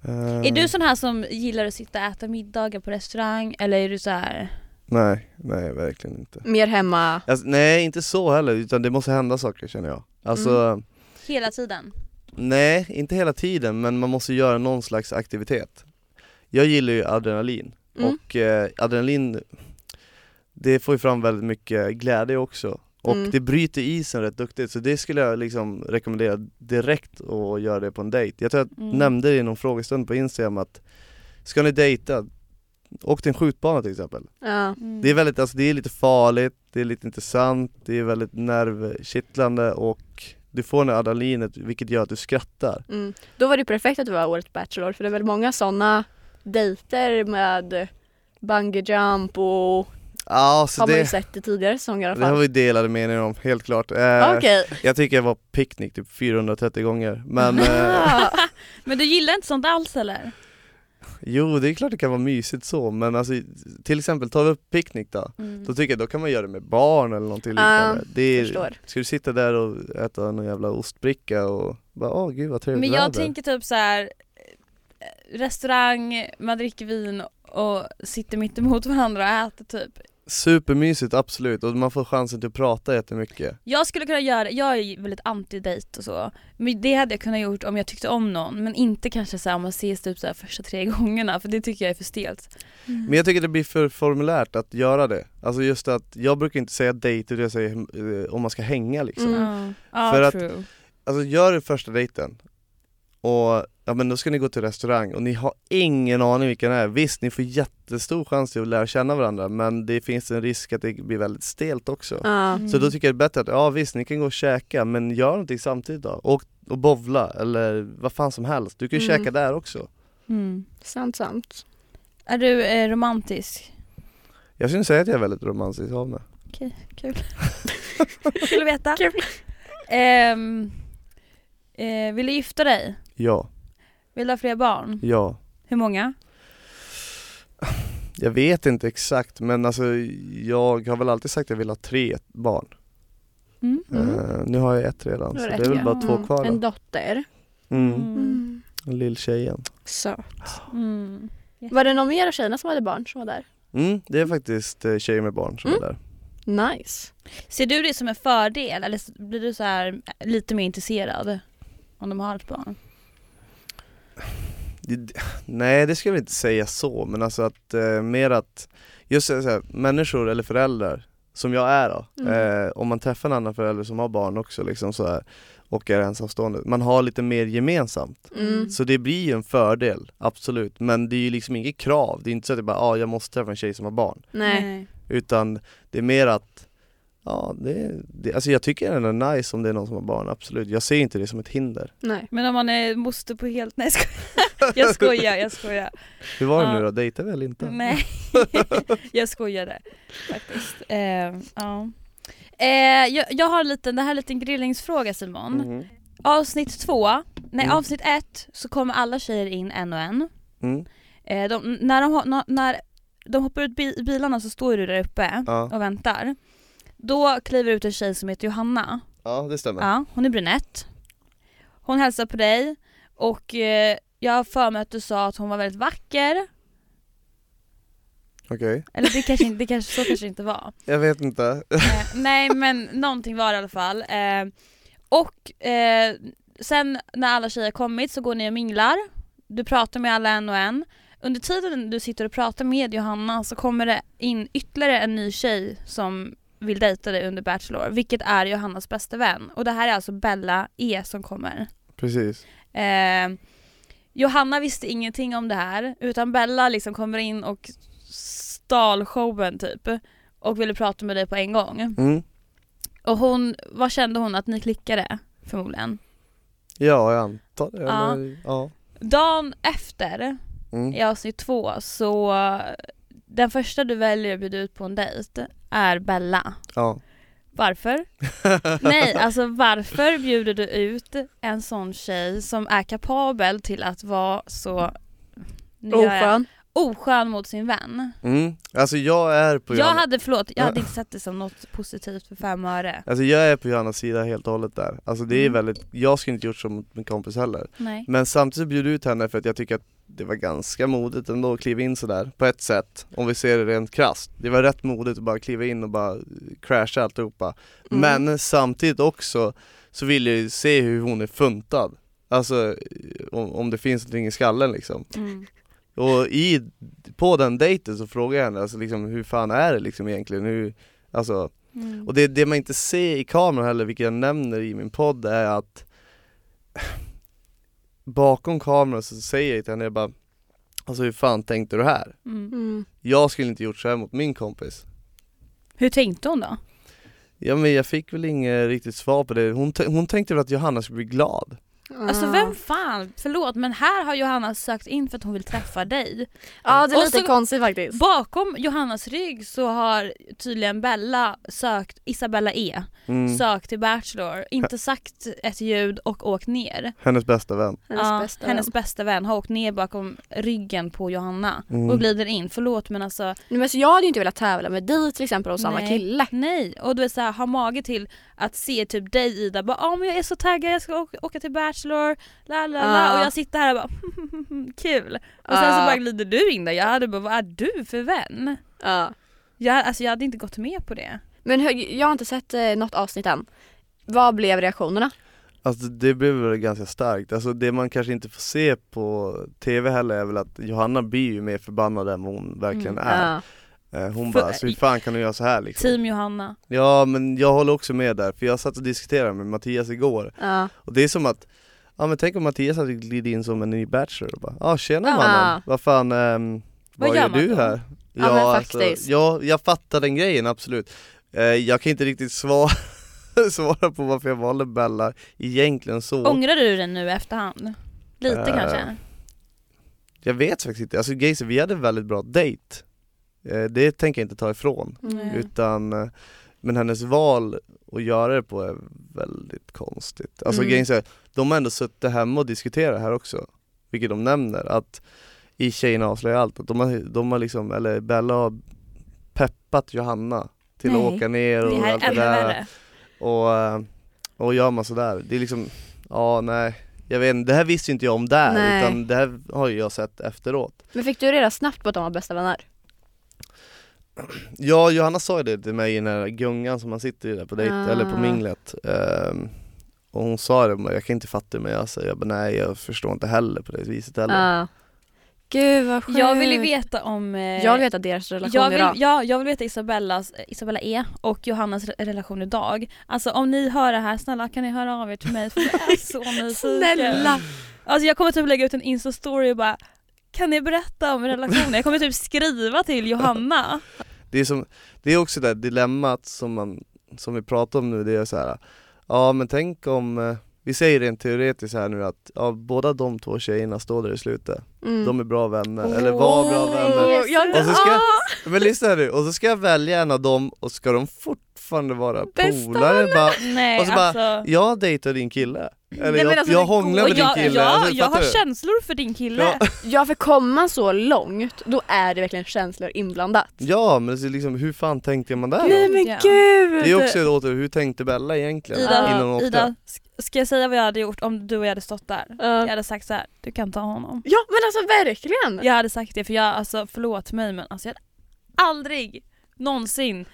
Eh,
Är du sån här som gillar att sitta och äta middagar på restaurang eller är du så här?
Nej, nej verkligen inte.
Mer hemma.
Alltså, nej inte så heller utan det måste hända saker känner jag. Alltså
hela tiden?
Nej, inte hela tiden men man måste göra någon slags aktivitet. Jag gillar ju adrenalin
Mm.
och eh, adrenalin det får ju fram väldigt mycket glädje också och
Mm.
det bryter isen rätt duktigt så det skulle jag liksom rekommendera direkt att göra det på en dejt. Jag tror jag
Mm.
nämnde det i någon frågestund på Instagram att ska ni dejta, åk till en skjutbana till exempel.
Ja.
Mm.
Det är väldigt, alltså det är lite farligt, det är lite intressant, det är väldigt nervkittlande och du får det här adrenalinet vilket gör att du skrattar.
Mm. Då var det perfekt att du var årets Bachelor för det är väl många sådana dejter med bungee jump och
Ja, så
har man ju
det,
sett i tidigare säsonger i alla
det har
fall. Ah,
vi delade meningar om, helt klart. Eh,
Okej.
Jag tycker jag var picknick typ 430 gånger, men eh,
Ah.
Men du gillar inte sånt alls eller?
jo det är klart det kan vara mysigt så, men alltså, till exempel tar vi upp picknick då,
Mm.
då tycker jag då kan man göra det med barn eller någonting
Ja,
liknande. Det är,
Ah, förstår.
ska du sitta där och äta någon jävla ostbricka och bara åh gud vad trevligt
Men jag
väder."
tänker typ så här eh, restaurang, man dricker vin och sitter mitt emot varandra och äter typ.
Supermysigt absolut, och man får chansen till att prata jättemycket.
Jag skulle kunna göra, jag är ju väldigt anti-dejt och så, men det hade jag kunnat gjort om jag tyckte om någon men inte kanske så här om man ses typ så här första tre gångerna för det tycker jag är för stelt.
Men jag tycker det blir för formulärt att göra det. Alltså just att, jag brukar inte säga dejt, utan jag säger eh, om man ska hänga liksom.
Mm.
Ja,
För att-
true.
Alltså gör det första dejten och ja men då ska ni gå till restaurang och ni har ingen aning vilka det är. Visst, ni får jättestor chans till att lära känna varandra men det finns en risk att det blir väldigt stelt också.
Ja.
Mm.
Så då tycker jag det är bättre att, ja visst ni kan gå och käka men gör någonting samtidigt då. Och, och bovla eller vad fan som helst. Du kan ju
Mm.
käka där också.
Mm.
Sant, sant.
Är du eh, romantisk?
Jag skulle säga att jag är väldigt romantisk av mig.
Kul att veta.
Kul.
Ehm, eh, vill du gifta dig?
Ja,
Vill du ha fler barn?
ja.
Hur många?
Jag vet inte exakt men alltså jag har väl alltid sagt att jag vill ha tre barn.
Mm.
Mm.
Eh, nu har jag ett redan
Du
så
har
det
ett,
är väl
ja.
bara två
Mm.
kvar då.
En dotter.
Mm.
Mm.
Lilltjejen.
Så.
Mm.
Var det någon mer av tjejerna som hade barn som var där?
Mm, det är faktiskt eh, tjejer med barn som
Mm.
är där.
Nice.
Ser du det som en fördel eller s- blir du så här eh, lite mer intresserad om de har ett barn?
Det- Nej det ska vi inte säga så men alltså att eh, mer att just eh, så här, människor eller föräldrar som jag är då,
Mm.
eh, om man träffar en annan förälder som har barn också liksom så här, och är ensamstående, man har lite mer gemensamt.
Mm.
Så det blir ju en fördel, absolut, men det är ju liksom inget krav, det är inte så att det bara ah, jag måste träffa en tjej som har barn,
Nej.
utan det är mer att Ja, det, det, alltså jag tycker ändå det är nice om det är någon som har barn, absolut. Jag ser inte det som ett hinder.
Nej.
Men om man är moster på helt... Nej jag skojar, jag skojar. Jag skojar.
Hur var det
Ja.
nu då? Dejtar vi eller inte?
Nej, jag skojade faktiskt. Eh, ja. eh, jag, jag har en liten, det här är en liten grillningsfråga Simon.
Mhm.
Avsnitt två, nej
Mm.
avsnitt ett så kommer alla tjejer in en och en.
Mm.
Eh, de, när, de, ho- na- när de hoppar ut bi- bilarna så står du där uppe
Ja.
och väntar. Då kliver ut en tjej som heter Johanna
Ja det stämmer.
Ja, hon är brunett. Hon hälsar på dig och eh, jag har för mig att du sa att hon var väldigt vacker.
Okej.
Eller det kanske, inte- det kanske så kanske det inte var.
Jag vet inte.
Eh, nej men någonting var det i alla fall. Eh, och eh, sen när alla tjejer kommit så går ni och minglar. Du pratar med alla en och en. Under tiden du sitter och pratar med Johanna så kommer det in ytterligare en ny tjej som vill dejta dig under Bachelor, vilket är Johannas bästa vän. Och det här är alltså Bella E som kommer.
Precis.
Eh, Johanna visste ingenting om det här utan Bella liksom kommer in och stal showen typ och ville prata med dig på en gång.
Mm.
Och hon, vad kände hon att ni klickade förmodligen?
Ja jag antar det.
Ja.
Eller, ja.
Dagen efter
Mm.
i avsnitt två så den första du väljer att bjuda ut på en dejt är Bella.
ja.
Varför? Nej, alltså varför bjuder du ut en sån tjej som är kapabel till att vara så nu gör jag-
Oskön.
oskön mot sin vän.
Mm. Alltså jag är på
Jag
Johanna-
hade, förlåt, jag hade inte sett det som något positivt för fem öre.
Alltså jag är på Johannas sida helt och hållet där. Alltså det är
Mm.
väldigt, jag skulle inte gjort som mot min kompis heller.
Nej.
Men samtidigt bjuder jag ut henne för att jag tycker att det var ganska modigt ändå att kliva in sådär på ett sätt. Om vi ser det rent krasst. Det var rätt modigt att bara kliva in och bara eh, crasha alltihopa.
Mm.
Men samtidigt också så vill jag ju se hur hon är funtad. Alltså eh, om, om det finns någonting i skallen liksom.
Mm.
Och i, på den dejten så frågar jag henne alltså liksom hur fan är det liksom egentligen? Hur, alltså
Mm.
och det, det man inte ser i kameran heller, vilket jag nämner i min podd, är att bakom kameran så säger jag till henne, jag bara Alltså hur fan tänkte du här?
Mm.
Mm.
Jag skulle inte gjort så här mot min kompis.
Hur tänkte hon då?
Ja men jag fick väl inget riktigt svar på det. Hon, t- hon tänkte väl att Johanna skulle bli glad.
Alltså
Ah.
vem fan, förlåt men här har Johanna sökt in för att hon vill träffa dig.
Ja det är
Och
lite
så-
konstigt faktiskt.
Bakom Johannas rygg så har tydligen Bella sökt, Isabella E,
Mm.
sökt till Bachelor, inte sagt ett ljud och åkt ner.
Hennes bästa vän.
Hennes
Ja,
bästa
hennes
vän.
bästa vän har åkt ner bakom ryggen på Johanna
Mm.
och glider in, förlåt men alltså
Nej, men så jag hade ju inte velat tävla med dig till exempel och samma
Nej.
kille.
Ah, Nej, och du är så här, har mage till att se typ dig Ida bara ah, men jag är så taggad, jag ska åka, åka till Bachelor, la la la
Ja.
och jag sitter här och bara kul. Och sen så
Ja.
bara glider du in där, jag hade bara vad är du för vän?
Ja.
Jag, alltså jag hade inte gått med på det.
Men hur, jag har inte sett eh, något avsnitt än. Vad blev reaktionerna?
Alltså det blev väl ganska starkt. Alltså det man kanske inte får se på TV heller är väl att Johanna blir ju mer förbannad än vad hon verkligen
Mm,
är.
Ja.
Eh, Hon
För-
bara, alltså, hur fan kan du göra så här liksom?
Team Johanna.
Ja men jag håller också med där, för jag satt och diskuterade med Mattias igår
Ja.
Och det är som att, ja men tänk om Mattias hade glidit in som en ny bachelor och bara ah, tjena
Ja.
mannen, vad fan, ehm, vad,
Vad gör
gör
man
du
då?"
här?
Ja, men faktiskt.
ja, jag fattar den grejen absolut Eh, Jag kan inte riktigt svara, svara på varför jag valde Bella egentligen så
Ångrar du dig nu i efterhand? Lite
Mm. Eh,
kanske?
Jag vet faktiskt inte, alltså Geise, vi hade en väldigt bra dejt Eh, Det tänker jag inte ta ifrån
Mm.
Utan, eh, men hennes val att göra det på är väldigt konstigt. Alltså
Mm.
grejen är, de har ändå suttit hemma och diskuterat här också, vilket de nämner, att i Tjejerna avslöjar allt, att de har, de har liksom, eller Bella har peppat Johanna till
Nej,
att åka ner och
Det här
allt
är
det
ännu
där.
värre.
Och, eh, och gör man sådär, det är liksom, ja nej, jag vet inte, det här visste ju inte jag om där,
Nej.
utan det här har ju jag sett efteråt.
Men fick du reda snabbt på att de var bästa vänner?
Ja, Johanna sa ju det till mig i den här gungan som man sitter i där på dejt,
Ah.
eller på minglet Ehm, Och hon sa det, men jag kan inte fatta det men jag säger, jag bara, nej jag förstår inte heller på det viset heller
Ja. Gud vad sjukt.
Jag vill ju veta om... eh,
Jag vill veta deras relation
jag vill,
idag.
ja, jag vill veta Isabellas, Isabella E och Johannas re- relation idag. Alltså om ni hör det här, snälla kan ni höra av er till mig för jag är så nyfiken.
Snälla!
Alltså jag kommer typ lägga ut en insta-story och bara kan ni berätta om relationen? Jag kommer typ skriva till Johanna.
Det är, som, det är också det här dilemmat som, man, som vi pratar om nu, det är så här. ja men tänk om eh, vi säger rent teoretiskt här nu att ja, båda de två tjejerna står där i slutet.
Mm.
De är bra vänner, eller var bra vänner.
Åh, jag-
Och så ska-
ah!
Men lyssna här nu, och så ska jag välja en av dem och ska de fortfarande vara
Bästa
polare? Bara,
Nej
Och så bara,
alltså.
jag dejtar din kille. Eller
Nej, men
jag,
alltså,
jag
det går-
hånglar med din
jag,
kille.
ja,
alltså,
jag
fattar
har
du?
känslor för din kille.
Ja.
Ja för kommer man så långt då är det verkligen känslor inblandat.
Ja men så liksom, hur fan tänkte man där
Nej,
då?
men
gud!
Det är också ett åter, hur tänkte Bella egentligen? innan hon
Ida,
åkte?
Ida, sk- ska jag säga vad jag hade gjort om du och jag hade stått där? Jag hade sagt så här: du kan ta honom.
ja men alltså verkligen!
Jag hade sagt det för jag, alltså förlåt mig men alltså jag hade aldrig någonsin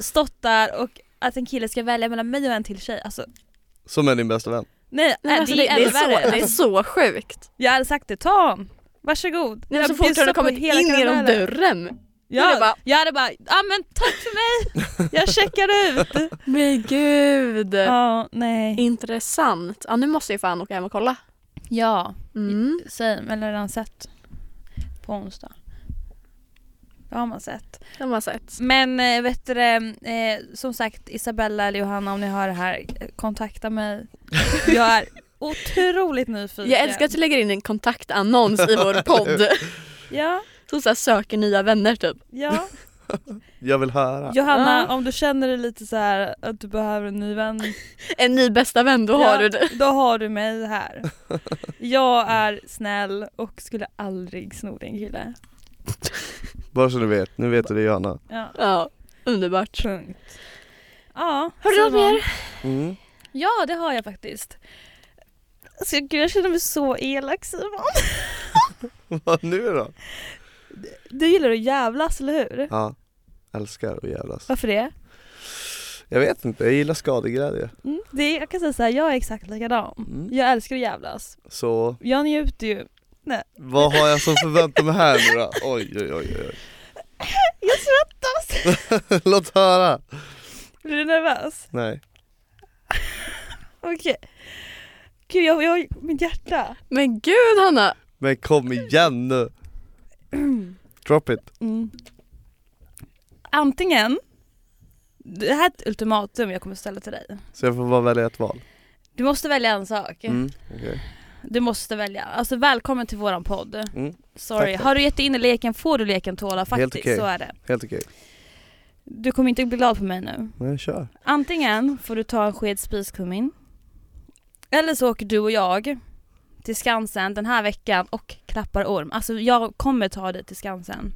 stått där och att en kille ska välja mellan mig och en till tjej. Alltså,
Som är din bästa vän.
nej,
Nej, men
nej
alltså,
det, är ännu
det, är så,
värre.
det är så sjukt.
Jag hade sagt det, ta honom. Varsågod.
Nej, men
Jag
så fort
bjussar
hon har
på
Alltså, kommit
hela
in genom
karamellen.
dörren.
Ja,
Eller bara-
Jag hade bara, ja men tack för mig. Jag checkar ut.
Men gud!
Ja, nej.
Intressant. Ja nu måste jag fan åka hem och kolla.
Ja.
Mm.
same eller redan sett på onsdag. Det har man sett.
Det har man sett.
Men eh, vet du, det, eh, som sagt Isabella eller Johanna om ni hör det här, eh, kontakta mig. Jag är otroligt nyfiken.
Jag älskar typ- att du lägger in en kontaktannons i vår podd.
Ja,
Som så här söker nya vänner typ.
ja.
Jag vill höra.
Johanna
Ja.
om du känner dig lite så här att du behöver en ny vän.
En ny bästa vän, då har
Ja,
du det.
Då har du mig här. Jag är snäll och skulle aldrig sno din kille.
Bara så du vet, nu vet du det Johanna.
Ja,
Ja, underbart.
punkt. Ja,
Har du något
Simon.
mer?
Mm.
Ja, det har jag faktiskt. Alltså, gud, jag känner mig så elak Simon.
Vad nu då?
Du gillar att jävlas, eller hur?
Ja, älskar att jävlas.
Varför det?
Jag vet inte, jag gillar skadeglädje.
Mm, det jag kan säga så här, jag är exakt likadan.
Mm.
Jag älskar att jävlas.
Så
Jag njuter ju.
vad har jag som förväntar mig här nu då? Oj oj oj oj.
Jag svettas!
Låt höra!
Blir du nervös?
Nej.
Okej. Gud, jag, jag, mitt hjärta.
Men gud Hanna!
Men kom igen nu! Drop it!
Mm. Antingen, det här är ett ultimatum jag kommer ställa till dig.
Så jag får bara välja ett val.
Du måste välja en sak.
Mm. okej.
Du måste välja. Alltså välkommen till våran podd.
Mm.
Sorry,
Tack, tack.
har du gett dig in i leken får du leken tåla faktiskt,
Helt okej.
så är det.
Helt okej.
Du kommer inte bli glad på mig nu.
Men kör.
Antingen får du ta en sked spiskummin, eller så åker du och jag till Skansen den här veckan och klappar orm. Alltså jag kommer ta dig till Skansen.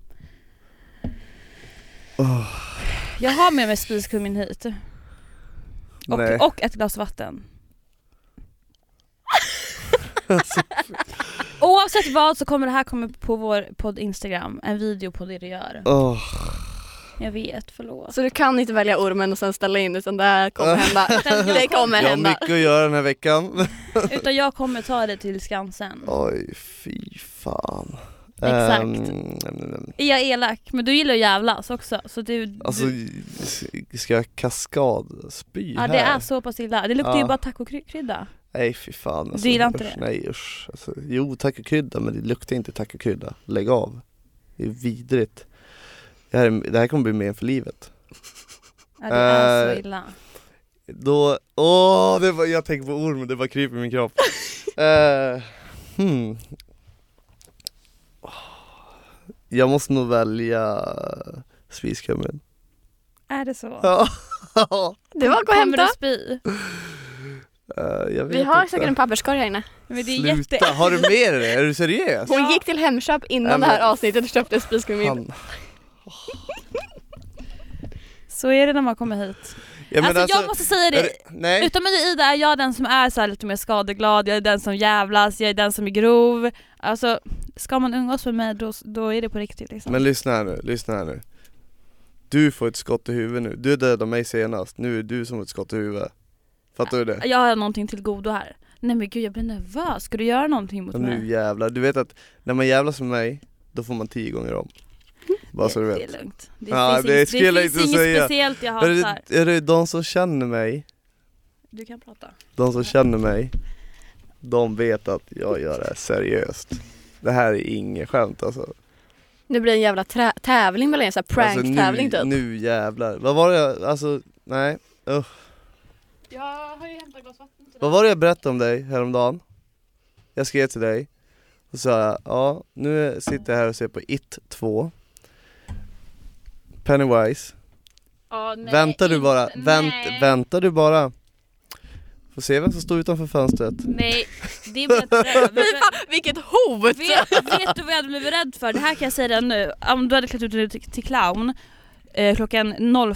Åh,
Jag har med mig spiskummin hit.
Nej.
Och, och ett glas vatten.
Alltså,
Oavsett vad så kommer det här komma på vår podd Instagram, en video på det du gör.
Åh.
Jag vet, förlåt.
Så du kan inte välja ormen och sen ställa in utan det här kommer hända. Det kommer
Jag har
hända.
mycket att göra den här veckan.
Utan jag kommer ta dig till Skansen.
Oj, fy fan.
Exakt.
Ehm,
Är jag elak? Men du gillar att jävlas också. Så du,
alltså,
du,
ska jag kaskadspy
ja,
här?
det är så pass illa. Det luktar ju
Ja.
bara tacokrydda.
Nej fy fan. Alltså,
Du gillar inte
usch,
det?
Nej usch. Alltså, jo tacokrydda men det luktar inte tacokrydda. Lägg av. Det är vidrigt. Det här, är- det här kommer bli men för livet.
Ja, det är
Eh,
så illa.
Då, åh, det var, jag tänker på ormen, det bara kryper i min kropp. Eh, hmm. Åh, Jag måste nog välja spiskummin.
Är det så?
Ja.
Det var att gå och
Kommer
hämta.
du spy?
Eh, jag vet
Vi har
inte.
säkert en papperskorg här inne.
Men det är
Sluta,
jätte...
har du med dig det? Är du seriös?
Hon
Ja.
gick till Hemköp innan
Nej, men-
det här avsnittet och köpte spiskummin.
Fan.
Så är det när man kommer hit.
Ja, men
alltså, jag måste säga
är
det.
det- Nej.
Utom mig och Ida är jag den som är så här lite mer skadeglad, jag är den som jävlas, jag är den som är grov. Alltså, ska man umgås med mig då, då är det på riktigt liksom.
Men lyssna här nu, lyssna här nu Du får ett skott i huvudet nu, du dödade mig senast, nu är det du som har ett skott i huvudet Fattar du det?
Jag har någonting till godo här. Nej men gud jag blir nervös, ska du göra någonting mot
Och
mig?
nu jävlar, du vet att när man jävlas med mig, då får man tio gånger om Bara så du
Det
vet
är lugnt. Det,
Ja,
finns,
det
inget,
skulle jag
det finns
inte
inget
säga.
speciellt jag
är
hatar.
det, är det de som känner mig,
Du kan prata.
de som känner mig De vet att jag gör det här seriöst Det här är inget skämt alltså
Nu blir det en jävla trä- tävling mellan er, så här typ.
alltså,
typ.
prank-tävling
nu,
typ.
nu jävlar, vad var det jag, alltså nej
Jag har ju hämtat glas vatten till
Vad var det jag berättade om dig häromdagen? Jag skrev till dig och sa ja, nu sitter jag här och ser på It 2 Pennywise Väntar du bara, vänt, väntar du bara Får se vem som står utanför fönstret
Nej, det blev jag inte rädd
Fy
för.
fan, vilket hot!
Vet, vet du vad jag hade blivit rädd för? Det här kan jag säga redan nu. Om du hade klätt ut dig till, till clown eh, klockan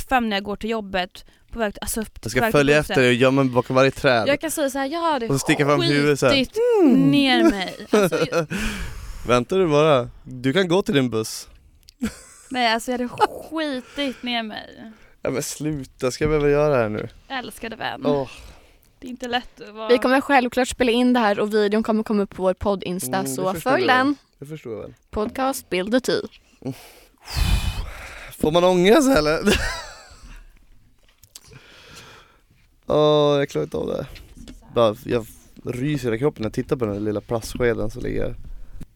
05 när jag går till jobbet på väg till, alltså, på
Jag ska
väg till
följa
bussen.
efter dig och gömma mig bakom varje träd
Jag kan säga såhär, jag hade
Och sticka fram huvudet så här. Mm.
skitit ner mig. Alltså, jag-
Väntar du bara, du kan gå till din buss
nej alltså jag hade skitit ner mig.
Ja men sluta, ska jag behöva göra det här nu?
Älskade vän.
Åh,
Det är inte lätt att vara...
Vi kommer självklart spela in det här och videon kommer komma upp på vår podd-insta
Mm, det
så
förstår
följ
jag.
den.
det förstår jag väl
Podcast Bild och Ty.
Får man ångest eller? Åh, jag klarar inte av det Bara, Jag ryser i hela kroppen när jag tittar på den där lilla plastskeden som ligger här.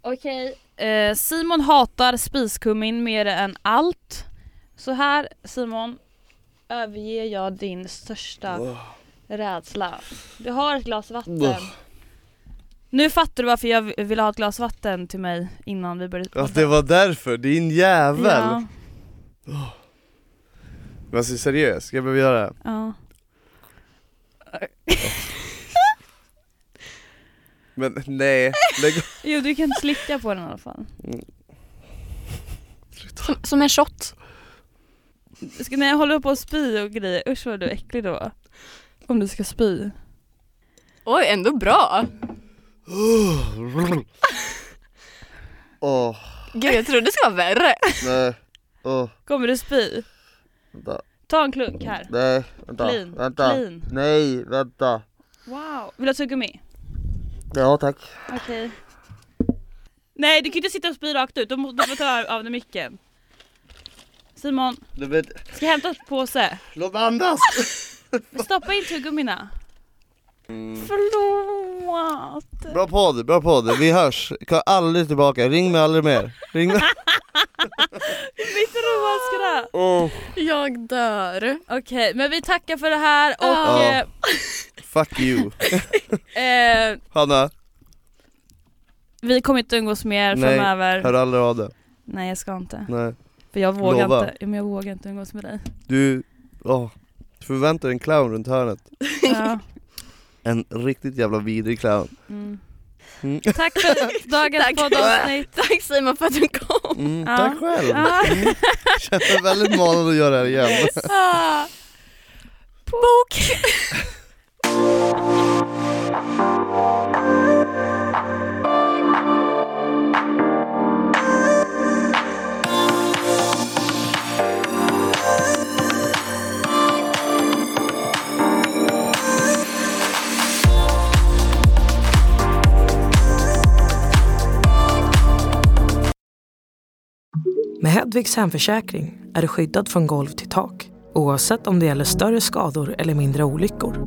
Okej, eh, Simon hatar spiskummin mer än allt. Så här Simon, överger jag din största
Wow.
rädsla. Du har ett glas vatten.
Wow.
Nu fattar du varför jag v- ville ha ett glas vatten till mig innan vi började
Ja det var därför, din jävel!
Ja,
Men alltså seriöst, ska jag behöva göra det?
ja.
Men nej, lägg
Jo du kan slicka på den i alla fall.
Som, som en shot.
Ska, när jag håller på att spy och grejer, usch vad du är äcklig då. Om du ska spy.
Oj, ändå bra.
Åh,
Gud, jag trodde det skulle vara värre.
nej, åh,
Kommer du spy?
vänta,
Ta en klunk här.
nej, vänta,
Clean,
vänta,
clean.
nej, vänta,
Wow. Vill du ha tuggummi?
ja tack
Okej. Nej du kan inte sitta och spy rakt ut, du må- du får ta av dig micken. Simon,
Du vet,
ska jag hämta en påse?
låt mig andas!
Stoppa in tuggummina.
Mm.
Förlåt.
Bra podd, bra podd, vi hörs, kom aldrig tillbaka, ring mig aldrig mer, ring mig
Mitt råskratt.
oh.
Jag dör.
Okej, men vi tackar för det här och
Ja.
eh,
Fuck you,
eh,
Hanna,
vi kommer inte umgås mer
Nej,
framöver.
hör aldrig av dig,
Nej jag ska inte.
nej
För jag vågar
Lova.
inte, Ja, men jag vågar inte umgås med dig.
Du, åh, förväntar dig en clown runt hörnet
Ja.
En riktigt jävla vidrig clown
Mm.
Mm.
Tack för dagens
Tack.
poddavsnitt. Ah.
Tack Simon för att du kom.
mm,
Ja.
Tack själv!
Ja.
Mm. Känner väldigt manad att göra det här igen
Ah. Bok.
Med Hedvigs hemförsäkring är du skyddad från golv till tak oavsett om det gäller större skador eller mindre olyckor.